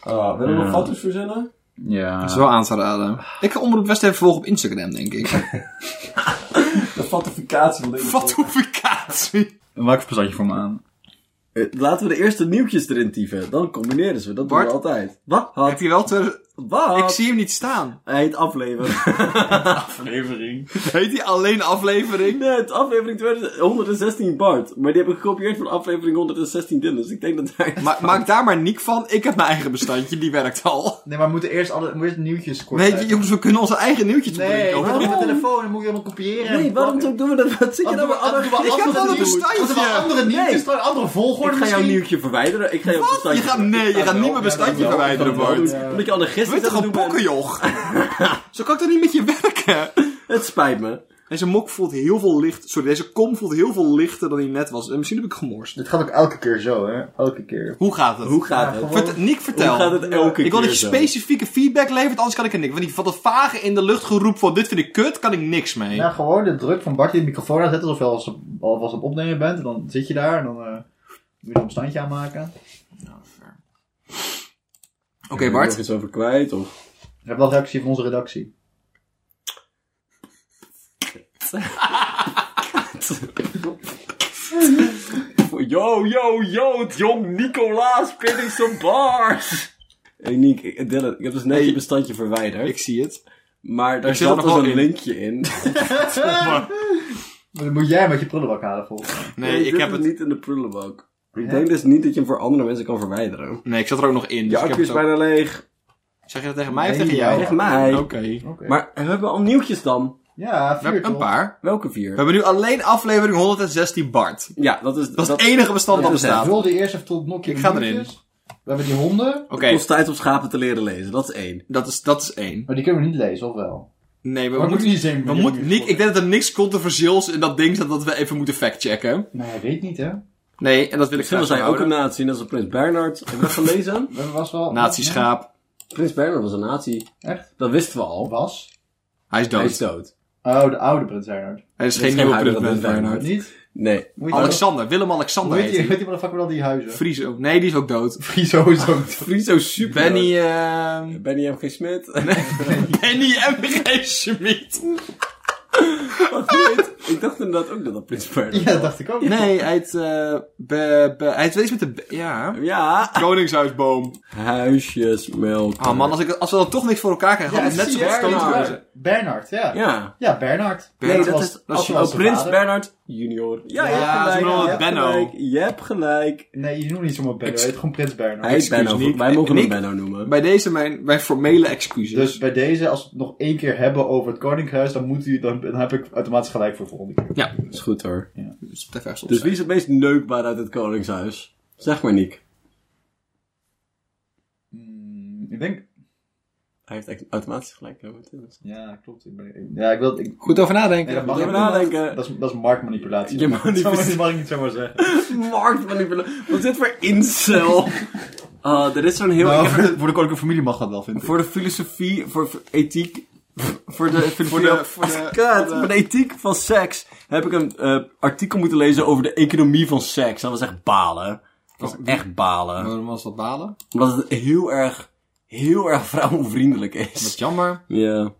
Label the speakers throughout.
Speaker 1: Ah, willen we nog
Speaker 2: Ja.
Speaker 1: foto's verzinnen?
Speaker 2: Ja.
Speaker 3: Dat is wel aan te raden. Ik ga Omroep West even volgen op Instagram, denk ik.
Speaker 1: De fotificatie van deze
Speaker 3: Fatoeficatie.
Speaker 2: Een wakkerpassatje voor me aan.
Speaker 4: Eh, Laten we de eerste nieuwtjes erin typen. Dan combineren ze. Dat
Speaker 3: Bart?
Speaker 4: doen we altijd. Wat? Wat?
Speaker 3: Heb je wel ter...
Speaker 4: Wat?
Speaker 3: Ik zie hem niet staan.
Speaker 4: Hij heet aflevering.
Speaker 2: Aflevering.
Speaker 3: Heet hij alleen aflevering?
Speaker 4: nee, het is aflevering 20- 116 Bart. Maar die heb ik gekopieerd van aflevering 116 Dylan. Dus ik denk dat hij...
Speaker 3: Ma maak daar maar niek van. Ik heb mijn eigen bestandje, die werkt al.
Speaker 5: Nee, maar we moeten eerst, alle, we moeten eerst nieuwtjes kort
Speaker 3: Weet je,
Speaker 5: uit.
Speaker 3: jongens, we kunnen onze eigen nieuwtjes
Speaker 5: Nee,
Speaker 3: bedenken.
Speaker 5: ik
Speaker 3: over
Speaker 5: heb
Speaker 3: dit.
Speaker 5: mijn telefoon en moet je allemaal kopiëren. en
Speaker 4: Nee, waarom
Speaker 5: plakken.
Speaker 4: doen we dat? Wat zit je
Speaker 5: Wat
Speaker 4: nou
Speaker 5: doen
Speaker 4: weer
Speaker 5: we- wat doen we-
Speaker 4: allergies?
Speaker 3: Ik
Speaker 5: wat doen we
Speaker 3: heb wel een
Speaker 5: nieuw- Wat
Speaker 3: bestandje.
Speaker 5: doen we andere
Speaker 4: Nee.
Speaker 5: nieuwtjes? Andere
Speaker 4: Ik
Speaker 5: volgorde
Speaker 4: ga jouw
Speaker 5: misschien?
Speaker 4: nieuwtje verwijderen. Ik ga jouw
Speaker 3: Wat? Je
Speaker 4: bestandje
Speaker 3: gaat, nee, je gaat niet mijn bestandje verwijderen, Bart.
Speaker 4: doen. Omdat je anarchist
Speaker 3: Je bent
Speaker 4: bent
Speaker 3: toch
Speaker 4: aan
Speaker 3: een
Speaker 4: het doen bent.
Speaker 3: pokkenjoch? Zo kan ik toch niet met je werken?
Speaker 4: Het spijt me.
Speaker 3: En zijn mok voelt heel veel licht. Sorry, deze kom voelt heel veel lichter dan hij net was. En misschien heb ik gemorst.
Speaker 5: Dit gaat ook elke keer zo, hè? Elke keer.
Speaker 3: Hoe gaat het?
Speaker 4: Hoe gaat het?
Speaker 5: gewoon-
Speaker 3: Vert- Nick, vertel.
Speaker 4: Hoe gaat het elke
Speaker 3: ik wil
Speaker 4: keer
Speaker 3: dat je
Speaker 4: zo?
Speaker 3: specifieke feedback levert, anders kan ik er niks. Want die van dat vage in de lucht geroep van dit vind ik kut, kan ik niks mee.
Speaker 5: Ja, Nou, gewoon de druk van Bart die de microfoon aanzet alsof je al was al was op opnemen bent. En dan zit je daar en dan eh, moet je er een standje aanmaken.
Speaker 3: Oké,
Speaker 4: Ben je nog
Speaker 3: Bart.
Speaker 4: iets over kwijt? Of...
Speaker 5: We hebben wel reactie van onze redactie.
Speaker 4: Yo, yo, yo, jong Nicolaas spinning some bars. Hey Nick, ik- Dylan, ik heb dus net je bestandje verwijderd.
Speaker 3: Ik zie het.
Speaker 4: maar daar
Speaker 3: ik zit er
Speaker 4: zat
Speaker 3: nog
Speaker 4: dus
Speaker 3: wel
Speaker 4: een
Speaker 3: in.
Speaker 4: linkje in.
Speaker 5: Maar Dan moet jij met je prullenbak halen volgens mij.
Speaker 3: Nee, ik
Speaker 4: zit
Speaker 3: heb
Speaker 4: hem
Speaker 3: het.
Speaker 4: niet in de prullenbak. Ik denk dus niet dat je hem voor andere mensen kan verwijderen.
Speaker 3: Nee, ik zat er ook nog in. Dus
Speaker 4: Je
Speaker 3: ik heb
Speaker 4: accu is
Speaker 3: het ook-
Speaker 4: bijna leeg.
Speaker 3: Zeg je dat tegen mij of
Speaker 5: Nee,
Speaker 3: tegen jou?
Speaker 5: tegen
Speaker 4: mij.
Speaker 3: Oké.
Speaker 5: Oké.
Speaker 4: Maar we hebben al nieuwtjes dan.
Speaker 5: Ja,
Speaker 3: We
Speaker 5: vier
Speaker 3: hebben een
Speaker 5: toch?
Speaker 3: paar.
Speaker 4: Welke
Speaker 3: We
Speaker 4: vier?
Speaker 3: hebben nu alleen aflevering 116 Bart.
Speaker 4: Ja, dat is...
Speaker 3: Dat is het enige bestand dat
Speaker 4: dat is het.
Speaker 3: bestaat.
Speaker 5: Vul die eerst even tot nokje
Speaker 3: Ah, Ik ga erin.
Speaker 5: nieuwtjes. We hebben die honden,
Speaker 3: Oké,
Speaker 4: Het kost tijd om schapen te leren lezen. Dat is één.
Speaker 3: dat, is, dat is één.
Speaker 5: maar die kunnen we niet lezen, of wel?
Speaker 3: Nee, we,
Speaker 5: Maar
Speaker 3: moeten...
Speaker 5: niet zeggen.
Speaker 3: We moeten Nick, ik denk dat er niks controversieels in dat ding staat dat we even moeten factchecken.
Speaker 5: Nee, hij weet niet, hè?
Speaker 3: Nee, en dat wil ik
Speaker 4: Misschien
Speaker 3: graag
Speaker 4: was hij ook een
Speaker 3: houden.
Speaker 4: nazi, net als Prins Bernhard. Heb je dat gelezen?
Speaker 5: We was wel...
Speaker 3: Nazi-schaap.
Speaker 4: Prins Bernhard was een nazi.
Speaker 5: Echt?
Speaker 4: Dat wisten we al.
Speaker 5: Was?
Speaker 3: Hij is dood.
Speaker 4: Hij is dood.
Speaker 5: Oh, de oude Prins Reinhard.
Speaker 3: Er is
Speaker 4: Dit
Speaker 3: geen
Speaker 4: is
Speaker 3: nieuwe
Speaker 4: geen huidige
Speaker 3: Prins
Speaker 4: Prins
Speaker 3: Bernhard.
Speaker 5: Niet?
Speaker 4: Nee.
Speaker 5: Moet je
Speaker 3: Alexander,
Speaker 5: Hoe
Speaker 3: Willem-Alexander
Speaker 5: heet die,
Speaker 3: heet hij.
Speaker 5: weet die motherfucker wel die huizen?
Speaker 3: Friese ook. Nee, die is ook dood.
Speaker 5: Friso is ook...
Speaker 4: Friso super.
Speaker 3: Benny, ehm
Speaker 4: Benny M.G. Smit.
Speaker 3: Benny M.G. Schmid.
Speaker 4: Wat heet? Ik dacht inderdaad ook dat dat Prins Bernhard
Speaker 5: Ja, dat dacht ik ook.
Speaker 3: Nee, hij heet, eh be, be- hij heet wel iets met de, be- ja.
Speaker 4: Ja.
Speaker 3: Koningshuisboom.
Speaker 4: Huisjesmelk.
Speaker 3: Ah man, als, ik, als we dan toch niks voor elkaar krijgen,
Speaker 5: Ja,
Speaker 3: hadden we net zo goed
Speaker 4: Bernard.
Speaker 3: stoot kunnen zijn.
Speaker 5: Bernard. Bernard, ja. Ja,
Speaker 4: Ja.
Speaker 5: Bernard.
Speaker 4: Nee, dat
Speaker 5: was-
Speaker 4: is...
Speaker 5: was
Speaker 4: Als je
Speaker 5: was
Speaker 4: oh,
Speaker 5: zijn
Speaker 4: Prins
Speaker 5: vader.
Speaker 4: Bernhard junior. Ja, je hebt
Speaker 3: Ja, ze
Speaker 4: gelijk.
Speaker 3: noemen
Speaker 4: je
Speaker 3: hem
Speaker 4: hebt
Speaker 3: Benno.
Speaker 4: gelijk. Je hebt gelijk.
Speaker 5: Nee, je noemt niet zomaar Bernard, je heet gewoon Prins Bernard.
Speaker 4: Hij is
Speaker 3: Excuus,
Speaker 4: Benno.
Speaker 3: Nick.
Speaker 4: Wij mogen hem
Speaker 3: Nick.
Speaker 4: Benno noemen.
Speaker 3: Bij deze mijn, mijn formele excuses.
Speaker 5: Dus bij deze, als we het nog één keer hebben over het Koninkrijk, dan, moet u, dan, dan heb ik automatisch gelijk voor de volgende keer.
Speaker 3: ja,
Speaker 4: Is goed hoor.
Speaker 3: dat is te ver soms.
Speaker 4: Dus wie is het meest neukbaar uit het Koningshuis? Zeg maar Nick.
Speaker 5: Hmm, ik denk...
Speaker 4: Hij heeft echt automatisch gelijk. hè, met dit.
Speaker 5: Ja, klopt. Ik ben, ik- ja, ik wil... Ik,
Speaker 3: Goed over nadenken.
Speaker 5: nee, dat mag
Speaker 4: Moet
Speaker 5: ik
Speaker 4: je
Speaker 5: niet.
Speaker 4: nadenken.
Speaker 5: Dat is, dat is marktmanipulatie.
Speaker 4: Je
Speaker 5: Dat mag-
Speaker 4: manipulatie.
Speaker 5: Dat mag ik niet zomaar zeggen.
Speaker 4: Marktmanipulatie. Wat is dit voor incel? Ah, er is zo'n
Speaker 2: Nou,
Speaker 4: heel... ik heb
Speaker 5: voor, de koninklijke familie mag dat wel, vind
Speaker 4: Voor de filosofie, voor voor ethiek, voor de
Speaker 3: voor
Speaker 4: filosofie...
Speaker 3: de, voor de,
Speaker 4: Kut, voor de ethiek van seks heb ik een eh, artikel moeten lezen over de economie van seks. Dat was echt balen. Dat was echt balen.
Speaker 3: Waarom Nou, was dat balen?
Speaker 4: Omdat het heel erg, heel erg vrouwenvriendelijk
Speaker 3: Dat is
Speaker 4: is.
Speaker 3: jammer.
Speaker 4: Ja.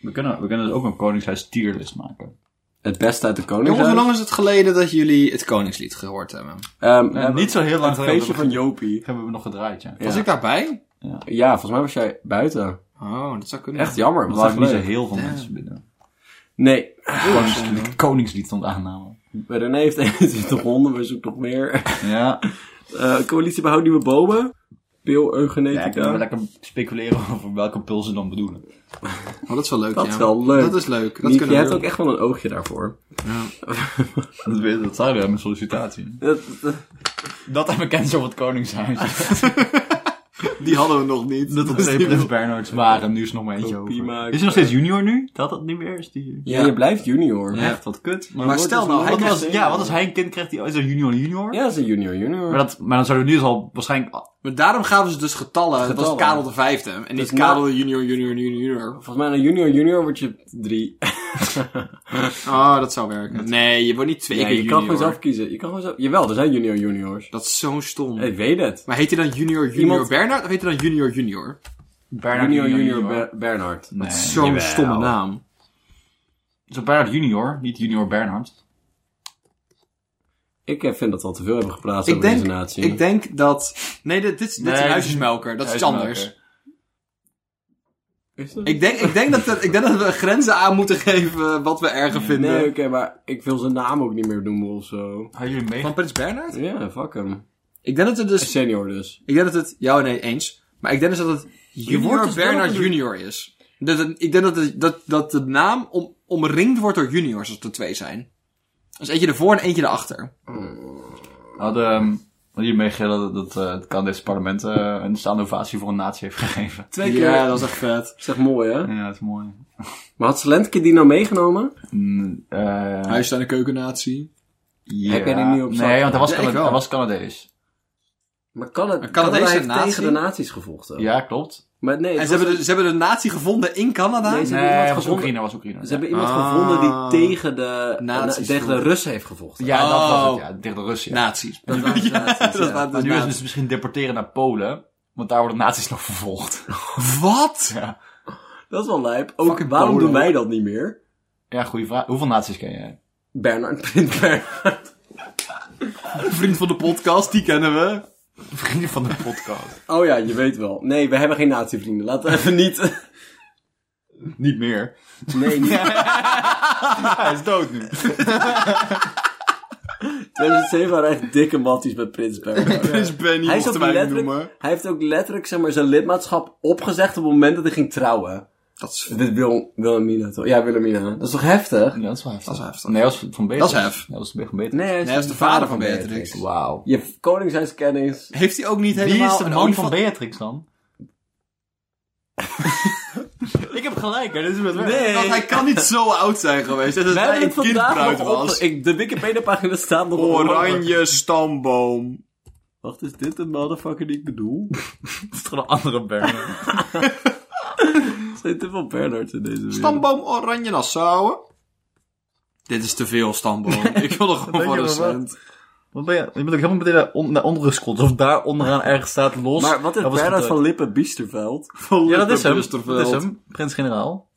Speaker 2: We kunnen, we kunnen dus ook een koningshuis tierlist maken.
Speaker 4: Het beste uit de
Speaker 3: Jongens, hoe
Speaker 4: koningshuis.
Speaker 3: lang is het geleden dat jullie het Koningslied gehoord hebben?
Speaker 4: Ehm,
Speaker 2: Nou,
Speaker 4: eh,
Speaker 2: niet zo heel lang
Speaker 4: Het
Speaker 2: geleden.
Speaker 4: feestje van Jopie.
Speaker 2: Hebben we nog gedraaid, ja.
Speaker 4: Ja.
Speaker 3: Was ik daarbij?
Speaker 4: Ja, volgens mij was jij buiten.
Speaker 3: Oh, dat zou kunnen.
Speaker 4: Echt jammer.
Speaker 2: Dat
Speaker 4: was
Speaker 2: zagen niet zo
Speaker 4: leuk.
Speaker 2: heel veel mensen binnen.
Speaker 4: Nee,
Speaker 2: Koningslied, koningslied stond aanname.
Speaker 4: René heeft 21 honden, we zoeken nog meer.
Speaker 2: Ja.
Speaker 4: Eh, coalitie behoud nieuwe bomen. Pil
Speaker 2: Ja, ik
Speaker 4: eugenetica.
Speaker 2: kan lekker speculeren over welke pul ze dan bedoelen.
Speaker 3: Oh, dat is wel leuk,
Speaker 4: Dat
Speaker 3: ja.
Speaker 4: is wel leuk.
Speaker 3: Dat is leuk. Dat
Speaker 4: Niek,
Speaker 3: kunnen
Speaker 4: je
Speaker 3: we
Speaker 4: hebt
Speaker 3: doen.
Speaker 4: ook echt wel een oogje daarvoor.
Speaker 2: Dat, weet- dat zou je mijn sollicitatie.
Speaker 4: Dat, dat-
Speaker 2: Dat en we kennen zo wat koningshuis.
Speaker 3: Die hadden we nog niet.
Speaker 2: Dat er
Speaker 3: Dus
Speaker 2: twee
Speaker 3: die-
Speaker 2: Prins Bernhards waren, nu is er nog maar eentje
Speaker 4: Kopie
Speaker 2: over.
Speaker 4: maken.
Speaker 2: Is hij nog steeds junior nu? Dat dat niet meer is, die...
Speaker 4: ja, je blijft junior.
Speaker 3: Ja.
Speaker 2: Echt, wat kut.
Speaker 3: Maar
Speaker 2: wordt
Speaker 3: stel
Speaker 2: dus-
Speaker 3: nou, hij
Speaker 2: wat
Speaker 3: krijgt
Speaker 2: als,
Speaker 3: een-
Speaker 2: ja, wat als hij een kind krijgt, die is er oh, junior junior?
Speaker 4: Ja, ze junior junior.
Speaker 2: Maar, dat, maar dan zouden we nu dus al waarschijnlijk
Speaker 3: Maar daarom gaven ze dus getallen. Dat was
Speaker 4: Getallen.
Speaker 3: Karel de vijfde. En niet
Speaker 4: is na-
Speaker 3: Karel de junior, junior, junior, junior.
Speaker 4: Volgens mij een junior junior word je drie.
Speaker 3: Oh, dat zou werken. Nee, je wordt niet twee
Speaker 4: Ja,
Speaker 3: keer
Speaker 4: je kan
Speaker 3: junior.
Speaker 4: gewoon zelf kiezen. Je kan gewoon zelf... Jawel, er zijn junior juniors.
Speaker 3: Dat is zo stom.
Speaker 4: Ik weet het.
Speaker 3: Maar heet hij dan junior, junior
Speaker 4: Iemand-
Speaker 3: Bernard? Of heet hij dan junior, junior?
Speaker 2: Bernard
Speaker 4: Junior junior Ber- Bernard.
Speaker 2: Nee,
Speaker 3: Zo'n
Speaker 2: jawel.
Speaker 3: stomme naam.
Speaker 2: Zo Bernard junior, niet junior Bernhard.
Speaker 4: Ik eh, vind dat we al te veel hebben gepraat
Speaker 3: Ik
Speaker 4: over
Speaker 3: denk,
Speaker 4: deze natie.
Speaker 3: ik denk dat... Nee, dit, dit, is- dit is
Speaker 2: Nee,
Speaker 3: een huisjesmelker. Dat is iets
Speaker 2: Huismelker.
Speaker 3: anders.
Speaker 4: Is dat-
Speaker 3: Ik denk, ik, denk dat er- ik denk dat we grenzen aan moeten geven wat we erger vinden.
Speaker 4: Nee, oké, maar ik wil zijn naam ook niet meer noemen of zo.
Speaker 2: Hadden jullie mee?
Speaker 3: Van Prins Bernard?
Speaker 4: Ja, fuck hem.
Speaker 3: Ik denk dat het dus...
Speaker 4: Senior dus.
Speaker 3: Ik denk dat het... Ja, nee, eens. Maar ik denk dus dat het junior
Speaker 4: wordt dus wel
Speaker 3: Bernard
Speaker 4: bedoeld.
Speaker 3: junior is. Dat het- ik denk dat, het- dat, dat de naam om, omringd wordt door juniors als er twee zijn. Dus eentje ervoor en eentje erachter.
Speaker 2: Hadden, ehm, hadden jullie meegegeven dat, dat eh, het Canadese parlement eh, een staande ovatie voor een natie heeft gegeven?
Speaker 4: Twee
Speaker 3: Ja, dat is echt vet.
Speaker 4: Zeg mooi, hè?
Speaker 2: Ja, dat is mooi.
Speaker 4: Maar had Slentke die nou meegenomen?
Speaker 2: Mm, eh,
Speaker 3: Huis aan de keukennatie.
Speaker 2: ja.
Speaker 4: Heb jij die niet op zak?
Speaker 2: Nee, want hij was,
Speaker 3: Ja, ik
Speaker 2: Cana-
Speaker 3: wel.
Speaker 2: hij was Canadees.
Speaker 4: Maar kan het?
Speaker 3: Maar
Speaker 4: Canada
Speaker 3: Canadese
Speaker 4: heeft
Speaker 3: natie?
Speaker 4: tegen de naties gevochten.
Speaker 2: Ja, klopt.
Speaker 4: Maar nee,
Speaker 3: En
Speaker 4: het
Speaker 3: ze
Speaker 4: was-
Speaker 3: hebben, de, ze hebben de natie gevonden in Canada?
Speaker 4: Nee, ze-
Speaker 2: Nee,
Speaker 4: hebben iemand
Speaker 2: hij was
Speaker 4: gevonden?
Speaker 2: Oekraïne, was Oekraïne.
Speaker 4: dus- ze
Speaker 2: ja.
Speaker 4: hebben iemand
Speaker 3: Ah.
Speaker 4: gevonden die tegen de,
Speaker 3: Nazi's
Speaker 4: na- tegen de
Speaker 3: vochten.
Speaker 4: Russen heeft gevochten.
Speaker 2: Ja, dat was
Speaker 3: Oh.
Speaker 2: het, ja. Tegen de Russen, ja.
Speaker 3: Nazi's.
Speaker 4: Dat waren de nazi's,
Speaker 3: dat
Speaker 4: ja.
Speaker 3: waren de
Speaker 2: Maar nu is het
Speaker 3: nazi's.
Speaker 2: dus misschien deporteren naar Polen, want daar worden nazi's nog vervolgd.
Speaker 3: Wat?
Speaker 2: ja.
Speaker 4: Dat is wel lijp. Ook
Speaker 3: Fucking
Speaker 4: waarom
Speaker 3: Polen.
Speaker 4: doen wij dat niet meer?
Speaker 2: ja, goede vraag. Hoeveel nazi's ken jij?
Speaker 4: Bernard, Prins Bernard.
Speaker 3: Een vriend van de podcast, die kennen we.
Speaker 2: Vrienden van de podcast.
Speaker 4: Oh ja, je weet wel. Nee, we hebben geen natievrienden. Laten we even niet...
Speaker 2: Niet meer.
Speaker 4: Nee, niet.
Speaker 2: Hij is dood nu.
Speaker 4: 2007 waren echt dikke matties met Prins Bernard.
Speaker 3: Prins Benny
Speaker 4: Hij, is ook
Speaker 3: mochten wij hem
Speaker 4: letterlijk,
Speaker 3: noemen.
Speaker 4: hij heeft ook letterlijk zeg maar, zijn lidmaatschap opgezegd op het moment dat hij ging trouwen.
Speaker 3: Dat is,
Speaker 4: Dit Wil, Wilhelmina toch? Ja, Wilhelmina. Dat is toch heftig?
Speaker 2: Ja, dat is wel heftig.
Speaker 3: Dat is heftig.
Speaker 2: Nee, dat was van Beatrix.
Speaker 3: Dat is heftig.
Speaker 2: Nee, dat was van Beatrix.
Speaker 4: Nee, hij is,
Speaker 3: hij is de vader van Beatrix.
Speaker 2: Wauw.
Speaker 4: Je koningshuiskennis.
Speaker 3: Heeft hij ook niet
Speaker 2: Wie
Speaker 3: helemaal...
Speaker 2: is de
Speaker 3: een
Speaker 2: man van
Speaker 3: olifant-
Speaker 2: Beatrix dan? ik heb gelijk, hè. Dit is met
Speaker 4: Nee.
Speaker 3: Want hij kan niet zo oud zijn geweest. Dat
Speaker 4: We hebben
Speaker 3: hij
Speaker 4: het
Speaker 3: een
Speaker 4: vandaag
Speaker 3: kindbruid
Speaker 4: nog op...
Speaker 3: was.
Speaker 4: Ik, de Wikipedia-pagina staat nog op-
Speaker 3: Oranje stamboom.
Speaker 4: Wacht, is dit de motherfucker die ik bedoel?
Speaker 2: Het is toch een andere Bernard.
Speaker 4: Er zijn te veel Bernards in deze wereld.
Speaker 3: Stamboom oranje Nassau. Dit is te veel stamboom. ik wil er gewoon
Speaker 2: Weet
Speaker 3: voor
Speaker 2: je wel
Speaker 3: een
Speaker 2: wat?
Speaker 3: cent.
Speaker 2: Wat ben je? Je bent ook helemaal meteen naar on- naar onderen gescrollt. Of daar onderaan ergens staat los.
Speaker 4: Maar wat is
Speaker 2: Dat was
Speaker 4: Bernard
Speaker 2: goed,
Speaker 4: van Lippe Biesterveld?
Speaker 2: eh, Ja, dat is hem.
Speaker 3: Busterveld?
Speaker 2: Dat is hem. Prins-generaal.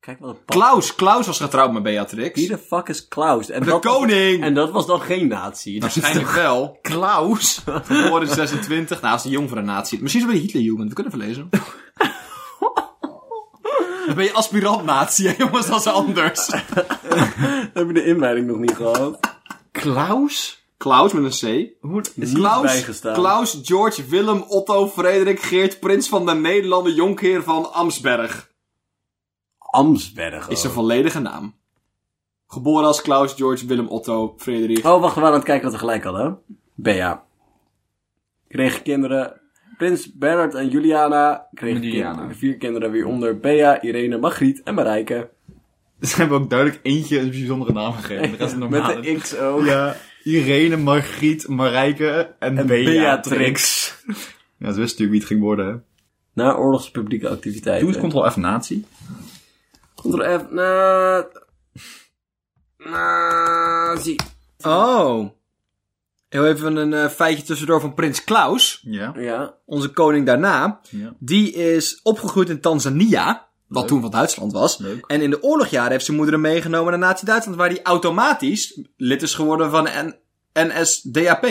Speaker 4: Kijk wat een pa-
Speaker 3: Klaus, Klaus was getrouwd met Beatrix.
Speaker 4: Wie de fuck is Klaus? En
Speaker 3: de
Speaker 4: dat was-
Speaker 3: koning! Nou,
Speaker 4: en dat was dan geen nazi. Dus
Speaker 3: Waarschijnlijk wel.
Speaker 2: Klaus?
Speaker 3: Geboren in 26. Nou, hij is een jong van de natie. Misschien is hij bij de Hitlerjugend. We kunnen verlezen. Dan ben je aspirant natie, hè, jongens. Dat is anders.
Speaker 4: heb je de inleiding nog niet gehad.
Speaker 2: Klaus?
Speaker 3: Klaus met een C.
Speaker 2: Hoe...
Speaker 4: Is
Speaker 3: Klaus,
Speaker 4: bijgestaan.
Speaker 3: Klaus, George, Willem, Otto, Frederik, Geert, prins van de Nederlanden, jonkheer van Amsberg.
Speaker 4: Amsberg.
Speaker 3: Is
Speaker 4: ook.
Speaker 3: zijn volledige naam. Geboren als Klaus, George, Willem, Otto, Frederik.
Speaker 4: Oh, wacht, we waren aan het kijken wat we gelijk hadden. Bea. Kregen kinderen. Prins Bernard en Juliana kregen
Speaker 2: Juliana.
Speaker 4: kinderen. vier kinderen weer onder. Bea, Irene, Margriet en Marijke.
Speaker 2: Ze hebben ook duidelijk eentje een bijzondere naam gegeven. De rest is normaal.
Speaker 4: Met de X ook.
Speaker 2: Ja, Irene, Margriet, Marijke en,
Speaker 4: En
Speaker 2: Beatrix.
Speaker 4: Beatrix.
Speaker 2: Ja, ze wist natuurlijk wie het ging worden, hè.
Speaker 4: Na oorlogspublieke activiteiten.
Speaker 2: Doe eens Ctrl-F natie.
Speaker 4: Ctrl F. Na... Nazi.
Speaker 3: Oh. Heel even een eh, feitje tussendoor van prins Klaus,
Speaker 2: Ja.
Speaker 4: Ja.
Speaker 3: onze koning daarna.
Speaker 2: Ja.
Speaker 3: Die is opgegroeid in Tanzania, wat
Speaker 2: Leuk.
Speaker 3: toen van Duitsland was.
Speaker 2: Leuk.
Speaker 3: En in de oorlogjaren heeft zijn moeder hem meegenomen naar Nazi-Duitsland, waar hij automatisch lid is geworden van N NSDAP.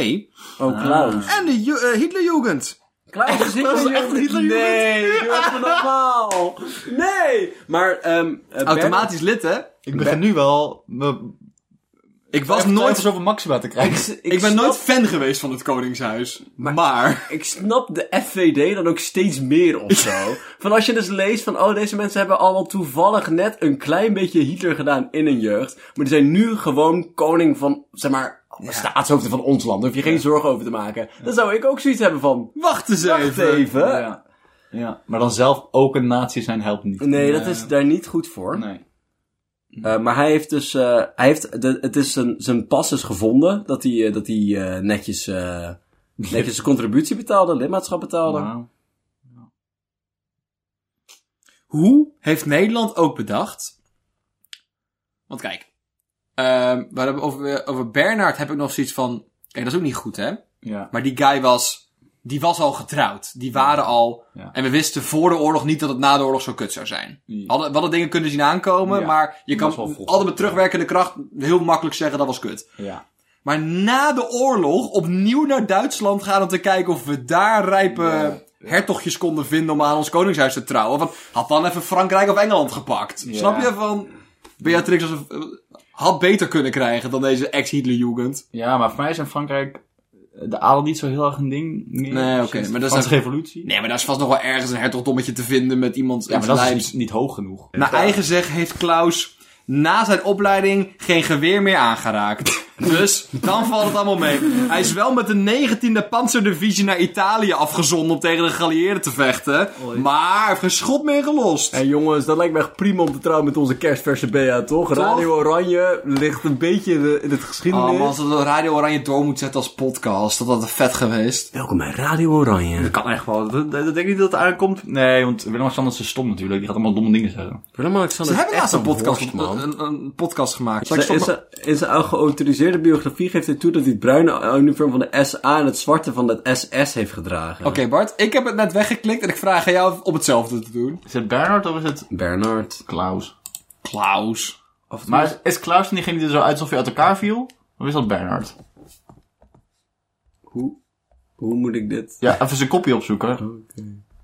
Speaker 4: Oh, Klaus.
Speaker 3: En de Ju- eh, Hitlerjugend.
Speaker 4: Klaus is
Speaker 3: Klaus is echt Hitlerjugend.
Speaker 4: Nee, doe even normaal. Nee. Maar, ehm eh, Bernard-
Speaker 3: Automatisch lid, hè?
Speaker 2: Ik begin nu wel... me-
Speaker 3: Ik was
Speaker 2: echt
Speaker 3: nooit...
Speaker 2: zoveel maxima te
Speaker 4: Ik,
Speaker 2: krijgen.
Speaker 4: s- ik
Speaker 3: Ik ben
Speaker 4: snap-
Speaker 3: nooit fan geweest van het Koningshuis. Maar...
Speaker 4: Ik snap de FVD dan ook steeds meer of zo. van als je dus leest van, oh, deze mensen hebben allemaal toevallig net een klein beetje Hitler gedaan in hun jeugd. Maar die zijn nu gewoon koning van, zeg maar, staatshoofden van ons land. Daar hoef je geen zorgen over te maken. Dan zou ik ook zoiets hebben van,
Speaker 3: Wacht eens
Speaker 4: wacht
Speaker 3: even.
Speaker 4: even.
Speaker 2: Ja. ja. Maar dan zelf ook een natie zijn helpt niet.
Speaker 4: Nee, dat is daar niet goed voor.
Speaker 2: Nee.
Speaker 4: Eh, maar hij heeft dus, eh, hij heeft, de, het is zijn, zijn pas is gevonden. Dat hij, eh, dat hij eh, netjes eh, Netjes zijn contributie betaalde, lidmaatschap betaalde.
Speaker 2: Wauw.
Speaker 3: Hoe heeft Nederland ook bedacht? Want kijk, ehm, we hebben over, over Bernard heb ik nog zoiets van. Kijk, dat is ook niet goed, hè?
Speaker 2: Ja.
Speaker 3: Maar die guy was. Die was al getrouwd. Die waren al.
Speaker 2: Ja.
Speaker 3: En we wisten voor de oorlog niet dat het na de oorlog zo kut zou zijn. We hadden, we hadden dingen kunnen zien aankomen,
Speaker 2: Ja.
Speaker 3: maar je
Speaker 2: Dat
Speaker 3: kan
Speaker 2: is wel vroeg.
Speaker 3: altijd met terugwerkende kracht heel makkelijk zeggen dat was kut.
Speaker 2: Ja.
Speaker 3: Maar na de oorlog opnieuw naar Duitsland gaan om te kijken of we daar rijpe hertogjes konden vinden om aan ons koningshuis te trouwen. Want had dan even Frankrijk of Engeland gepakt.
Speaker 2: Ja.
Speaker 3: Snap je? Van Beatrix was een- eh, had beter kunnen krijgen dan deze ex-Hitlerjugend.
Speaker 2: ja, maar voor mij is in Frankrijk eh, de adel niet zo heel erg een ding. meer.
Speaker 3: Nee, oké,
Speaker 2: Sinds
Speaker 3: maar
Speaker 2: de
Speaker 3: dat is
Speaker 2: Franse
Speaker 3: ook-
Speaker 2: revolutie.
Speaker 3: Nee, maar daar is vast nog wel ergens een hertogdommetje te vinden met iemand
Speaker 2: ja,
Speaker 3: in
Speaker 2: maar
Speaker 3: zijn
Speaker 2: dat is
Speaker 3: lijf.
Speaker 2: niet, niet hoog genoeg.
Speaker 3: Naar eigen zeg heeft Klaus na zijn opleiding geen geweer meer aangeraakt. Dus dan valt het allemaal mee. Hij is wel met de 19e Panzerdivisie naar Italië afgezonden om tegen de geallieerden te vechten. Maar hij heeft geen schot meer gelost.
Speaker 4: En jongens, dat lijkt me echt prima om te trouwen met onze kerstverse BA, toch? Radio Oranje ligt een beetje in, de- in het geschiedenis.
Speaker 3: Oh man, als dat Radio Oranje door moet zetten als podcast, dat had het vet geweest.
Speaker 4: Welkom bij Radio Oranje.
Speaker 2: Kan echt wel. Dat, dat, dat denk ik niet dat het aankomt. Nee, want Willem-Alexander is stom natuurlijk. Die gaat allemaal domme dingen zeggen.
Speaker 3: Ze
Speaker 4: Willem-Alexander is
Speaker 3: hebben
Speaker 4: echt
Speaker 3: laatst een podcast,
Speaker 4: worst,
Speaker 3: een,
Speaker 4: man.
Speaker 3: een, een podcast gemaakt. Zal ik
Speaker 4: Ze- In
Speaker 3: stoppen?
Speaker 4: zijn, in zijn geautoriseerde biografie geeft hij toe dat hij het bruine uniform van de SA en het zwarte van de SS heeft gedragen.
Speaker 3: Oké Bart, ik heb het net weggeklikt en ik vraag aan jou om hetzelfde te doen.
Speaker 2: Is het Bernard of is het
Speaker 4: Bernard.
Speaker 2: Klaus?
Speaker 3: Klaus.
Speaker 2: Maar is, is Klaus dan diegene die er zo uit alsof hij uit elkaar viel? Of is dat Bernard?
Speaker 4: Hoe, hoe moet ik dit?
Speaker 2: Ja, even zijn kopje opzoeken.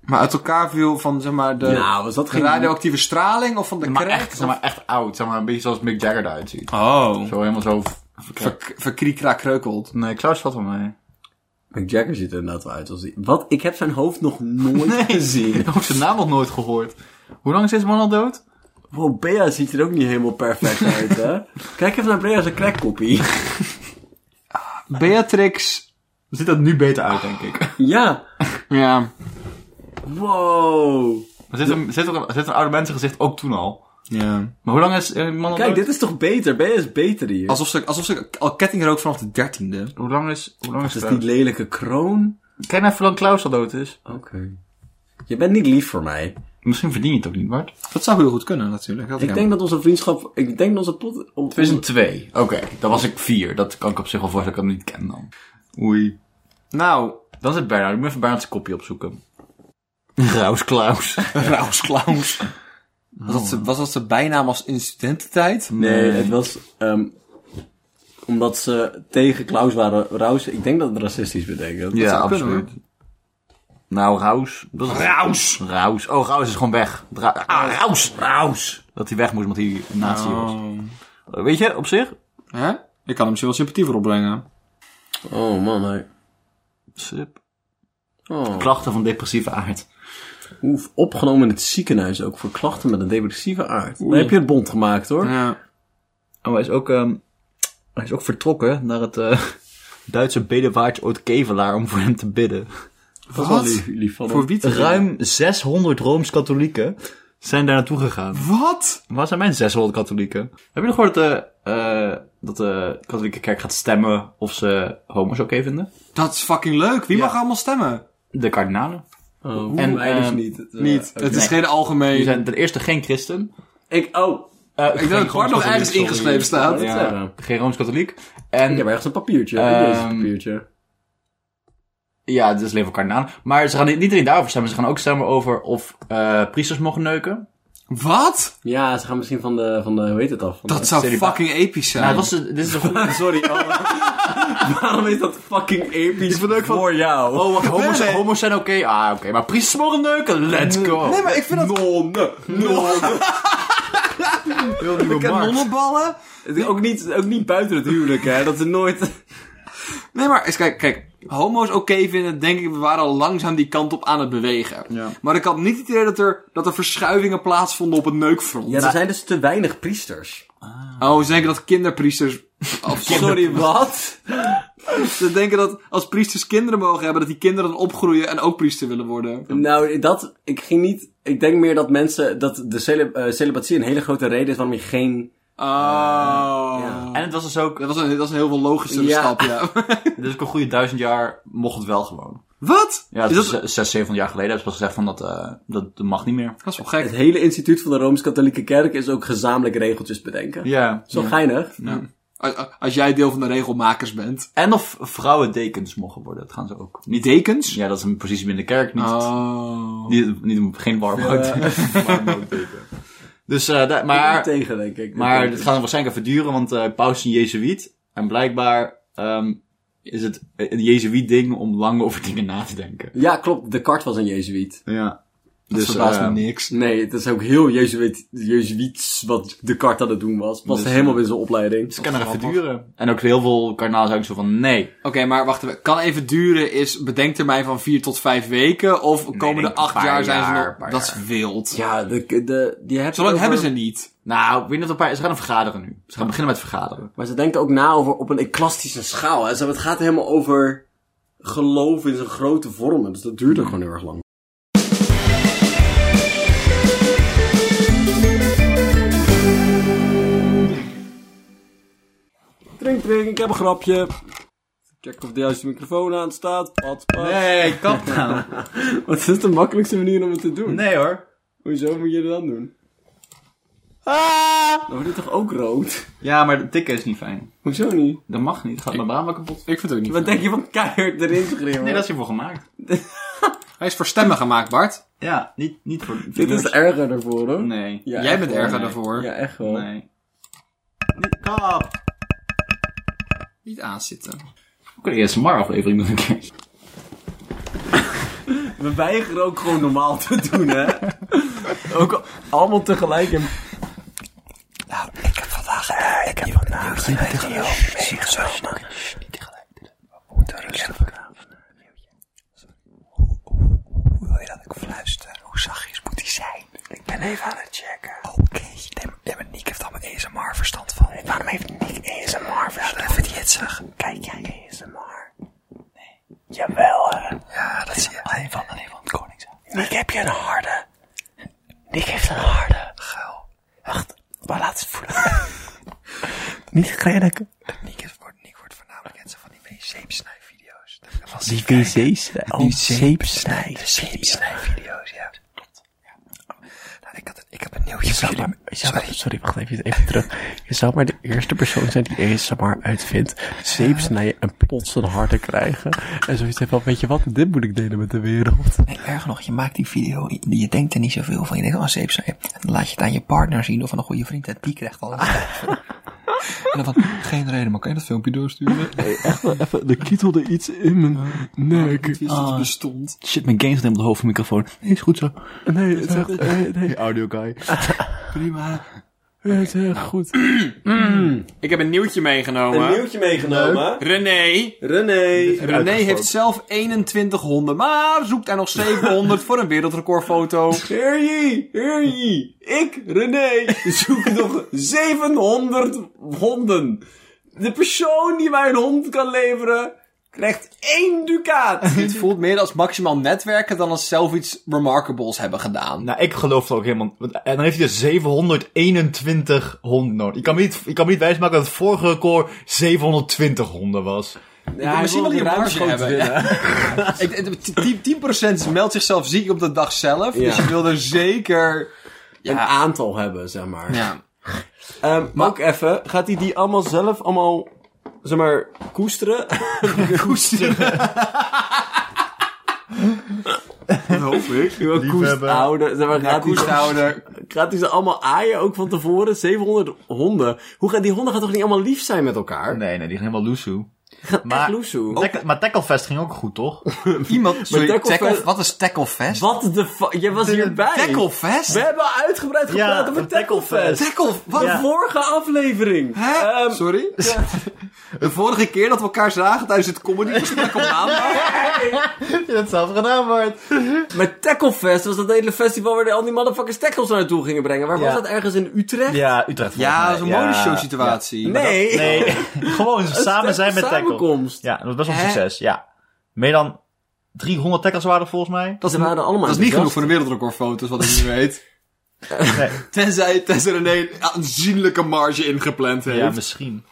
Speaker 3: Maar uit elkaar viel van zeg maar de...
Speaker 4: Nou, was dat
Speaker 3: Geen
Speaker 4: geen...
Speaker 3: radioactieve straling of van de
Speaker 2: Maar
Speaker 3: crack?
Speaker 2: echt, zeg maar echt oud. Zeg maar een beetje zoals Mick Jagger eruit ziet.
Speaker 3: Oh.
Speaker 2: Zo helemaal zo... v- verkrakt.
Speaker 3: Verkriekra kreukeld.
Speaker 2: Nee, Klaus valt wel mee.
Speaker 4: Mick Jagger ziet er inderdaad wel uit als die... Wat? Ik heb zijn hoofd nog nooit gezien.
Speaker 2: Ik heb ook zijn naam nog nooit gehoord. Hoe lang is deze man al dood?
Speaker 4: Wow, Bea ziet er ook niet helemaal perfect uit, hè? Kijk even naar Bea zijn crackkoppie.
Speaker 3: Beatrix.
Speaker 2: Ziet dat nu beter uit, denk ik.
Speaker 4: ja.
Speaker 3: Ja.
Speaker 4: Wow.
Speaker 2: Maar zit, een, zit, ook een, zit een oude mensengezicht ook toen al?
Speaker 3: ja.
Speaker 2: Maar hoe lang is een man al
Speaker 4: Kijk,
Speaker 2: dood?
Speaker 4: dit is toch beter? Bea is beter hier.
Speaker 3: Alsof, ze, alsof ze al ketting rook vanaf de dertiende.
Speaker 2: Hoe lang is... Hoe lang is
Speaker 4: Dat is
Speaker 2: Klaus?
Speaker 4: die lelijke kroon.
Speaker 2: Kijk naar hoe lang Klaus al dood is.
Speaker 4: Oké. Je bent niet lief voor mij.
Speaker 2: Misschien verdien je het ook niet, Bart.
Speaker 3: Dat zou heel goed kunnen natuurlijk. Dat
Speaker 4: Ik denk dat onze vriendschap... Ik denk dat onze pot... on-
Speaker 2: 2002. Oké, dan was ik 4. Dat kan ik op zich wel voorstellen dat ik hem niet ken dan. Oei.
Speaker 3: Nou.
Speaker 2: Dan zit Bernard. Ik moet even Bernard zijn kopje opzoeken. Klaus Klaus.
Speaker 3: Raus Klaus. Was dat, ze, was dat zijn bijnaam als in studententijd?
Speaker 4: Nee, het was... ehm, omdat ze tegen Klaus waren. Raus, ik denk dat het racistisch betekent.
Speaker 2: ja,
Speaker 3: zou kunnen,
Speaker 2: absoluut. Nou, Raus. Dat is Raus. Raus. Oh, Raus is gewoon weg. Ra ah, Raus. Nou. Raus. Dat hij weg moest, omdat hij een nazi was. Eh, Weet je, op zich?
Speaker 3: Oh. Hè? Ik kan hem misschien wel sympathie voor opbrengen.
Speaker 4: Oh man, hij...
Speaker 2: Sip.
Speaker 4: Oh.
Speaker 2: Klachten van depressieve aard.
Speaker 4: Oef, opgenomen in het ziekenhuis ook voor klachten met een depressieve aard. Dan heb je het bond gemaakt hoor.
Speaker 3: Ja.
Speaker 2: Oh, hij is ook, ehm, hij is ook vertrokken naar het eh, Duitse bedevaarts Oud Kevelaar om voor hem te bidden.
Speaker 4: Dat is
Speaker 3: Wat?
Speaker 4: wel lief, lief van hem.
Speaker 3: Voor wie te
Speaker 2: Ruim 600 Rooms-Katholieken zijn daar naartoe gegaan.
Speaker 3: Wat?
Speaker 2: Waar zijn mijn 600 katholieken? Heb je nog gehoord dat, eh, eh, dat de katholieke kerk gaat stemmen of ze homo's oké vinden?
Speaker 3: Dat is fucking leuk. Wie
Speaker 2: Ja.
Speaker 3: mag allemaal stemmen?
Speaker 2: De kardinalen.
Speaker 4: Oh,
Speaker 2: En,
Speaker 4: en mij dus
Speaker 2: ehm,
Speaker 4: niet. Het, eh,
Speaker 3: Niet.
Speaker 4: oké.
Speaker 3: Het is geen algemeen.
Speaker 2: Die zijn ten eerste geen christen.
Speaker 4: Ik, oh,
Speaker 2: Eh,
Speaker 3: Ik
Speaker 2: geen
Speaker 3: denk dat Bart nog
Speaker 2: Rooms-katholiek,
Speaker 3: ergens
Speaker 2: sorry.
Speaker 3: ingeschreven staat.
Speaker 4: Ja.
Speaker 2: Ja, geen Rooms-katholiek. En
Speaker 4: ik heb ergens een papiertje. Ik lees het
Speaker 2: Ehm,
Speaker 4: papiertje.
Speaker 2: Ja, het is alleen voor kardinalen. Maar ze gaan niet niet alleen daarover stemmen. Ze gaan ook stemmen over of eh, priesters mogen neuken.
Speaker 3: Wat?
Speaker 4: Ja, ze gaan misschien van de, van de hoe heet het af? Van
Speaker 3: Dat
Speaker 4: de-
Speaker 3: zou
Speaker 2: celibaat.
Speaker 3: fucking episch zijn.
Speaker 2: Nou, dat was de- dit is een goede...
Speaker 4: Sorry, oh. waarom is dat fucking episch voor jou?
Speaker 2: Oh, wacht, homo's,
Speaker 3: Nee, nee.
Speaker 2: homo's zijn oké. Ah, oké. Maar priesters mogen neuken. Let's go.
Speaker 3: Nee, maar ik vind dat...
Speaker 4: Nonnen, nonnen.
Speaker 2: ik
Speaker 3: Kanonnenballen?
Speaker 4: Het is ook, niet, ook niet buiten het huwelijk, hè. Dat ze nooit...
Speaker 3: Nee, maar eens kijk, kijk. Homo's oké vinden, denk ik, we waren al langzaam die kant op aan het bewegen. Maar ik had niet het idee dat er, dat er verschuivingen plaatsvonden op het neukfront.
Speaker 4: Ja, er zijn dus te weinig priesters.
Speaker 3: Oh, ze denken dat kinderpriesters... Of sorry,
Speaker 4: Sorry, wat?
Speaker 3: ze denken dat als priesters kinderen mogen hebben, dat die kinderen dan opgroeien en ook priester willen worden.
Speaker 4: Nou, dat, ik ging niet, ik denk meer dat mensen, dat de celi- eh, celibatie een hele grote reden is waarom je geen
Speaker 3: Oh.
Speaker 2: En het was dus ook,
Speaker 3: Dat was, een, dat was een heel veel logischere
Speaker 4: Ja.
Speaker 3: stap, ja.
Speaker 2: dit is ook een goede duizend jaar mocht het wel gewoon.
Speaker 3: Wat?
Speaker 2: Ja,
Speaker 3: is
Speaker 2: dat
Speaker 3: dat,
Speaker 2: is zes, zevenhonderd jaar geleden hebben ze pas gezegd van dat, eh, dat, dat mag niet meer.
Speaker 3: dat is wel gek.
Speaker 4: Het hele instituut van de Rooms-Katholieke Kerk is ook gezamenlijk regeltjes bedenken.
Speaker 2: Ja.
Speaker 4: Zo geinig.
Speaker 3: Als- Als jij deel van de regelmakers bent.
Speaker 2: En of vrouwen dekens mogen worden, dat gaan ze ook.
Speaker 3: Niet dekens?
Speaker 2: Ja, dat is een positie binnen de kerk, niet,
Speaker 3: Oh.
Speaker 2: niet, niet- geen warmhout.
Speaker 4: Eh,
Speaker 2: dus, eh, da-
Speaker 4: Maar,
Speaker 2: maar,
Speaker 4: tegen, denk ik.
Speaker 2: maar het gaat waarschijnlijk even duren, want eh paus is een jezuïet. En blijkbaar ehm, is het een jezuïet ding om lang over dingen na te denken.
Speaker 4: Ja, klopt. Descartes was een jezuïet.
Speaker 2: Ja.
Speaker 3: Dat
Speaker 2: Dus,
Speaker 3: verbaast
Speaker 2: eh,
Speaker 3: me niks.
Speaker 4: Nee, het is ook heel jezuïet, jezuïets wat Descartes aan het doen was. Past
Speaker 2: Dus,
Speaker 4: helemaal in zijn opleiding.
Speaker 2: Het kan er even
Speaker 3: Grappig.
Speaker 2: duren. En ook heel veel kardinaals zijn ook zo van, nee.
Speaker 3: Oké, maar wacht even. Kan even duren is bedenktermijn van 4 tot 5 weken. Of komende
Speaker 2: denk een
Speaker 3: 8
Speaker 2: paar
Speaker 3: jaar zijn ze
Speaker 2: jaar,
Speaker 3: nog-
Speaker 2: een paar
Speaker 3: Dat is
Speaker 2: jaar.
Speaker 3: wild.
Speaker 4: Ja, de, de, die hebben
Speaker 3: Zo lang
Speaker 4: over-
Speaker 3: hebben ze niet.
Speaker 2: Nou, ik weet niet of een paar... Ze gaan vergaderen nu. Ze gaan beginnen met vergaderen.
Speaker 4: Maar ze denken ook na over op een eclastische schaal. Hè. Ze hebben- Het gaat helemaal over geloof in zijn grote vormen. Dus dat duurt er gewoon heel erg lang. Drink, drink, ik heb een grapje. Check of de juiste microfoon aan staat. Pat, pat.
Speaker 2: Nee, kap nou.
Speaker 4: Wat is de makkelijkste manier om het te doen?
Speaker 2: Nee hoor.
Speaker 4: Hoezo moet je dat dan doen? Dan wordt het toch ook rood?
Speaker 2: Ja, maar de tikken is niet fijn.
Speaker 4: Hoezo niet?
Speaker 2: Dat mag niet. Gaat mijn baan wel kapot.
Speaker 3: Ik vind het ook niet.
Speaker 4: Wat denk je van keihard erin te
Speaker 2: Nee,
Speaker 4: grimmen?
Speaker 2: dat is hiervoor gemaakt.
Speaker 3: Hij is voor stemmen gemaakt, Bart.
Speaker 2: Ja, niet, niet voor...
Speaker 4: Dit is erger daarvoor, hoor.
Speaker 2: Nee.
Speaker 4: Ja,
Speaker 3: Jij
Speaker 4: echt
Speaker 3: bent
Speaker 4: wel.
Speaker 3: erger
Speaker 2: nee.
Speaker 3: daarvoor.
Speaker 4: Ja, echt wel.
Speaker 2: Nee. Niet kap.
Speaker 3: Niet aanzitten.
Speaker 2: Ook een ASMR-aflevering nog een keer.
Speaker 4: We weigeren ook gewoon normaal te doen, hè? ook al- allemaal tegelijk in...
Speaker 6: Eh, Oh,
Speaker 3: Nou,
Speaker 6: Erger nog, je maakt die video, je, je denkt er niet zoveel van. Je denkt, oh, zeep, zeep. En dan laat je het aan je partner zien of aan een goede vriend. En die krijgt alles. en dan van, geen reden, maar kan je dat filmpje doorsturen?
Speaker 2: Ah.
Speaker 3: Het bestond.
Speaker 2: Shit, mijn games neemt op de hoofdmicrofoon. Nee, is goed zo.
Speaker 3: Ik heb een nieuwtje meegenomen.
Speaker 4: Een nieuwtje meegenomen.
Speaker 3: René.
Speaker 4: René.
Speaker 3: René heeft zelf 21 honden, maar zoekt er nog 700 voor een wereldrecordfoto.
Speaker 4: Heer je, heer je. Ik, René, zoek nog 700 honden. De persoon die mij een hond kan leveren, krijgt één ducaat.
Speaker 3: Dit voelt meer als maximaal netwerken dan als zelf iets remarkables hebben gedaan.
Speaker 2: Nou, ik geloof het ook helemaal. want- En dan heeft hij dus 721 honden nodig. Je kan me niet, je kan me niet wijsmaken dat het vorige record 720 honden was.
Speaker 4: Ja,
Speaker 3: Misschien wel die marge hebben. ja. Ik- het- 10% meldt zichzelf ziek op de dag zelf, dus
Speaker 4: Ja.
Speaker 3: je wil er zeker...
Speaker 4: Een aantal hebben, zeg maar.
Speaker 3: Ja.
Speaker 4: Ehm, maar ook even, gaat hij die allemaal zelf allemaal, zeg maar, koesteren? koesteren?
Speaker 2: Dat hoop ik.
Speaker 4: Koesthouden. Zeg maar, Nou, gaat, hij,
Speaker 3: Koesthouder.
Speaker 4: gaat hij ze allemaal aaien ook van tevoren? 700 honden. Hoe gaan die honden gaan toch niet allemaal lief zijn met elkaar?
Speaker 2: Nee, nee, die gaan helemaal loesoe.
Speaker 4: Echt
Speaker 2: Maar,
Speaker 4: loesoe.
Speaker 2: Tackle- maar Tacklefest ging ook goed, toch?
Speaker 1: Iemand, sorry,
Speaker 4: Tacklefest-
Speaker 1: Tackle- wat is Tacklefest?
Speaker 4: Wat de fuck? Jij was hierbij.
Speaker 1: Tacklefest?
Speaker 4: We hebben uitgebreid gepraat over Tacklefest.
Speaker 3: Tackle, wat?
Speaker 4: De vorige aflevering.
Speaker 3: Hè?
Speaker 4: Ehm,
Speaker 3: Sorry? De vorige keer dat we elkaar zagen tijdens het comedygesprek op maandag.
Speaker 4: maar Tacklefest was dat hele festival waar al die motherfuckers tackles naartoe gingen brengen. Waar was dat? Ergens in Utrecht?
Speaker 2: Ja, Utrecht.
Speaker 3: Ja, dat is een modeshow
Speaker 2: modeshow.
Speaker 3: situatie.
Speaker 4: Nee.
Speaker 2: Nee, gewoon samen zijn met Tackle.
Speaker 4: Samenkomst.
Speaker 2: Ja, dat was best wel een succes, ja. Meer dan 300 tackles waren er volgens mij.
Speaker 4: Dat, waren allemaal
Speaker 3: Dat is niet genoeg voor de wereldrecordfoto's, wat ik nu weet. Tenzij, tenzij René een aanzienlijke marge ingepland heeft.
Speaker 2: Ja, misschien.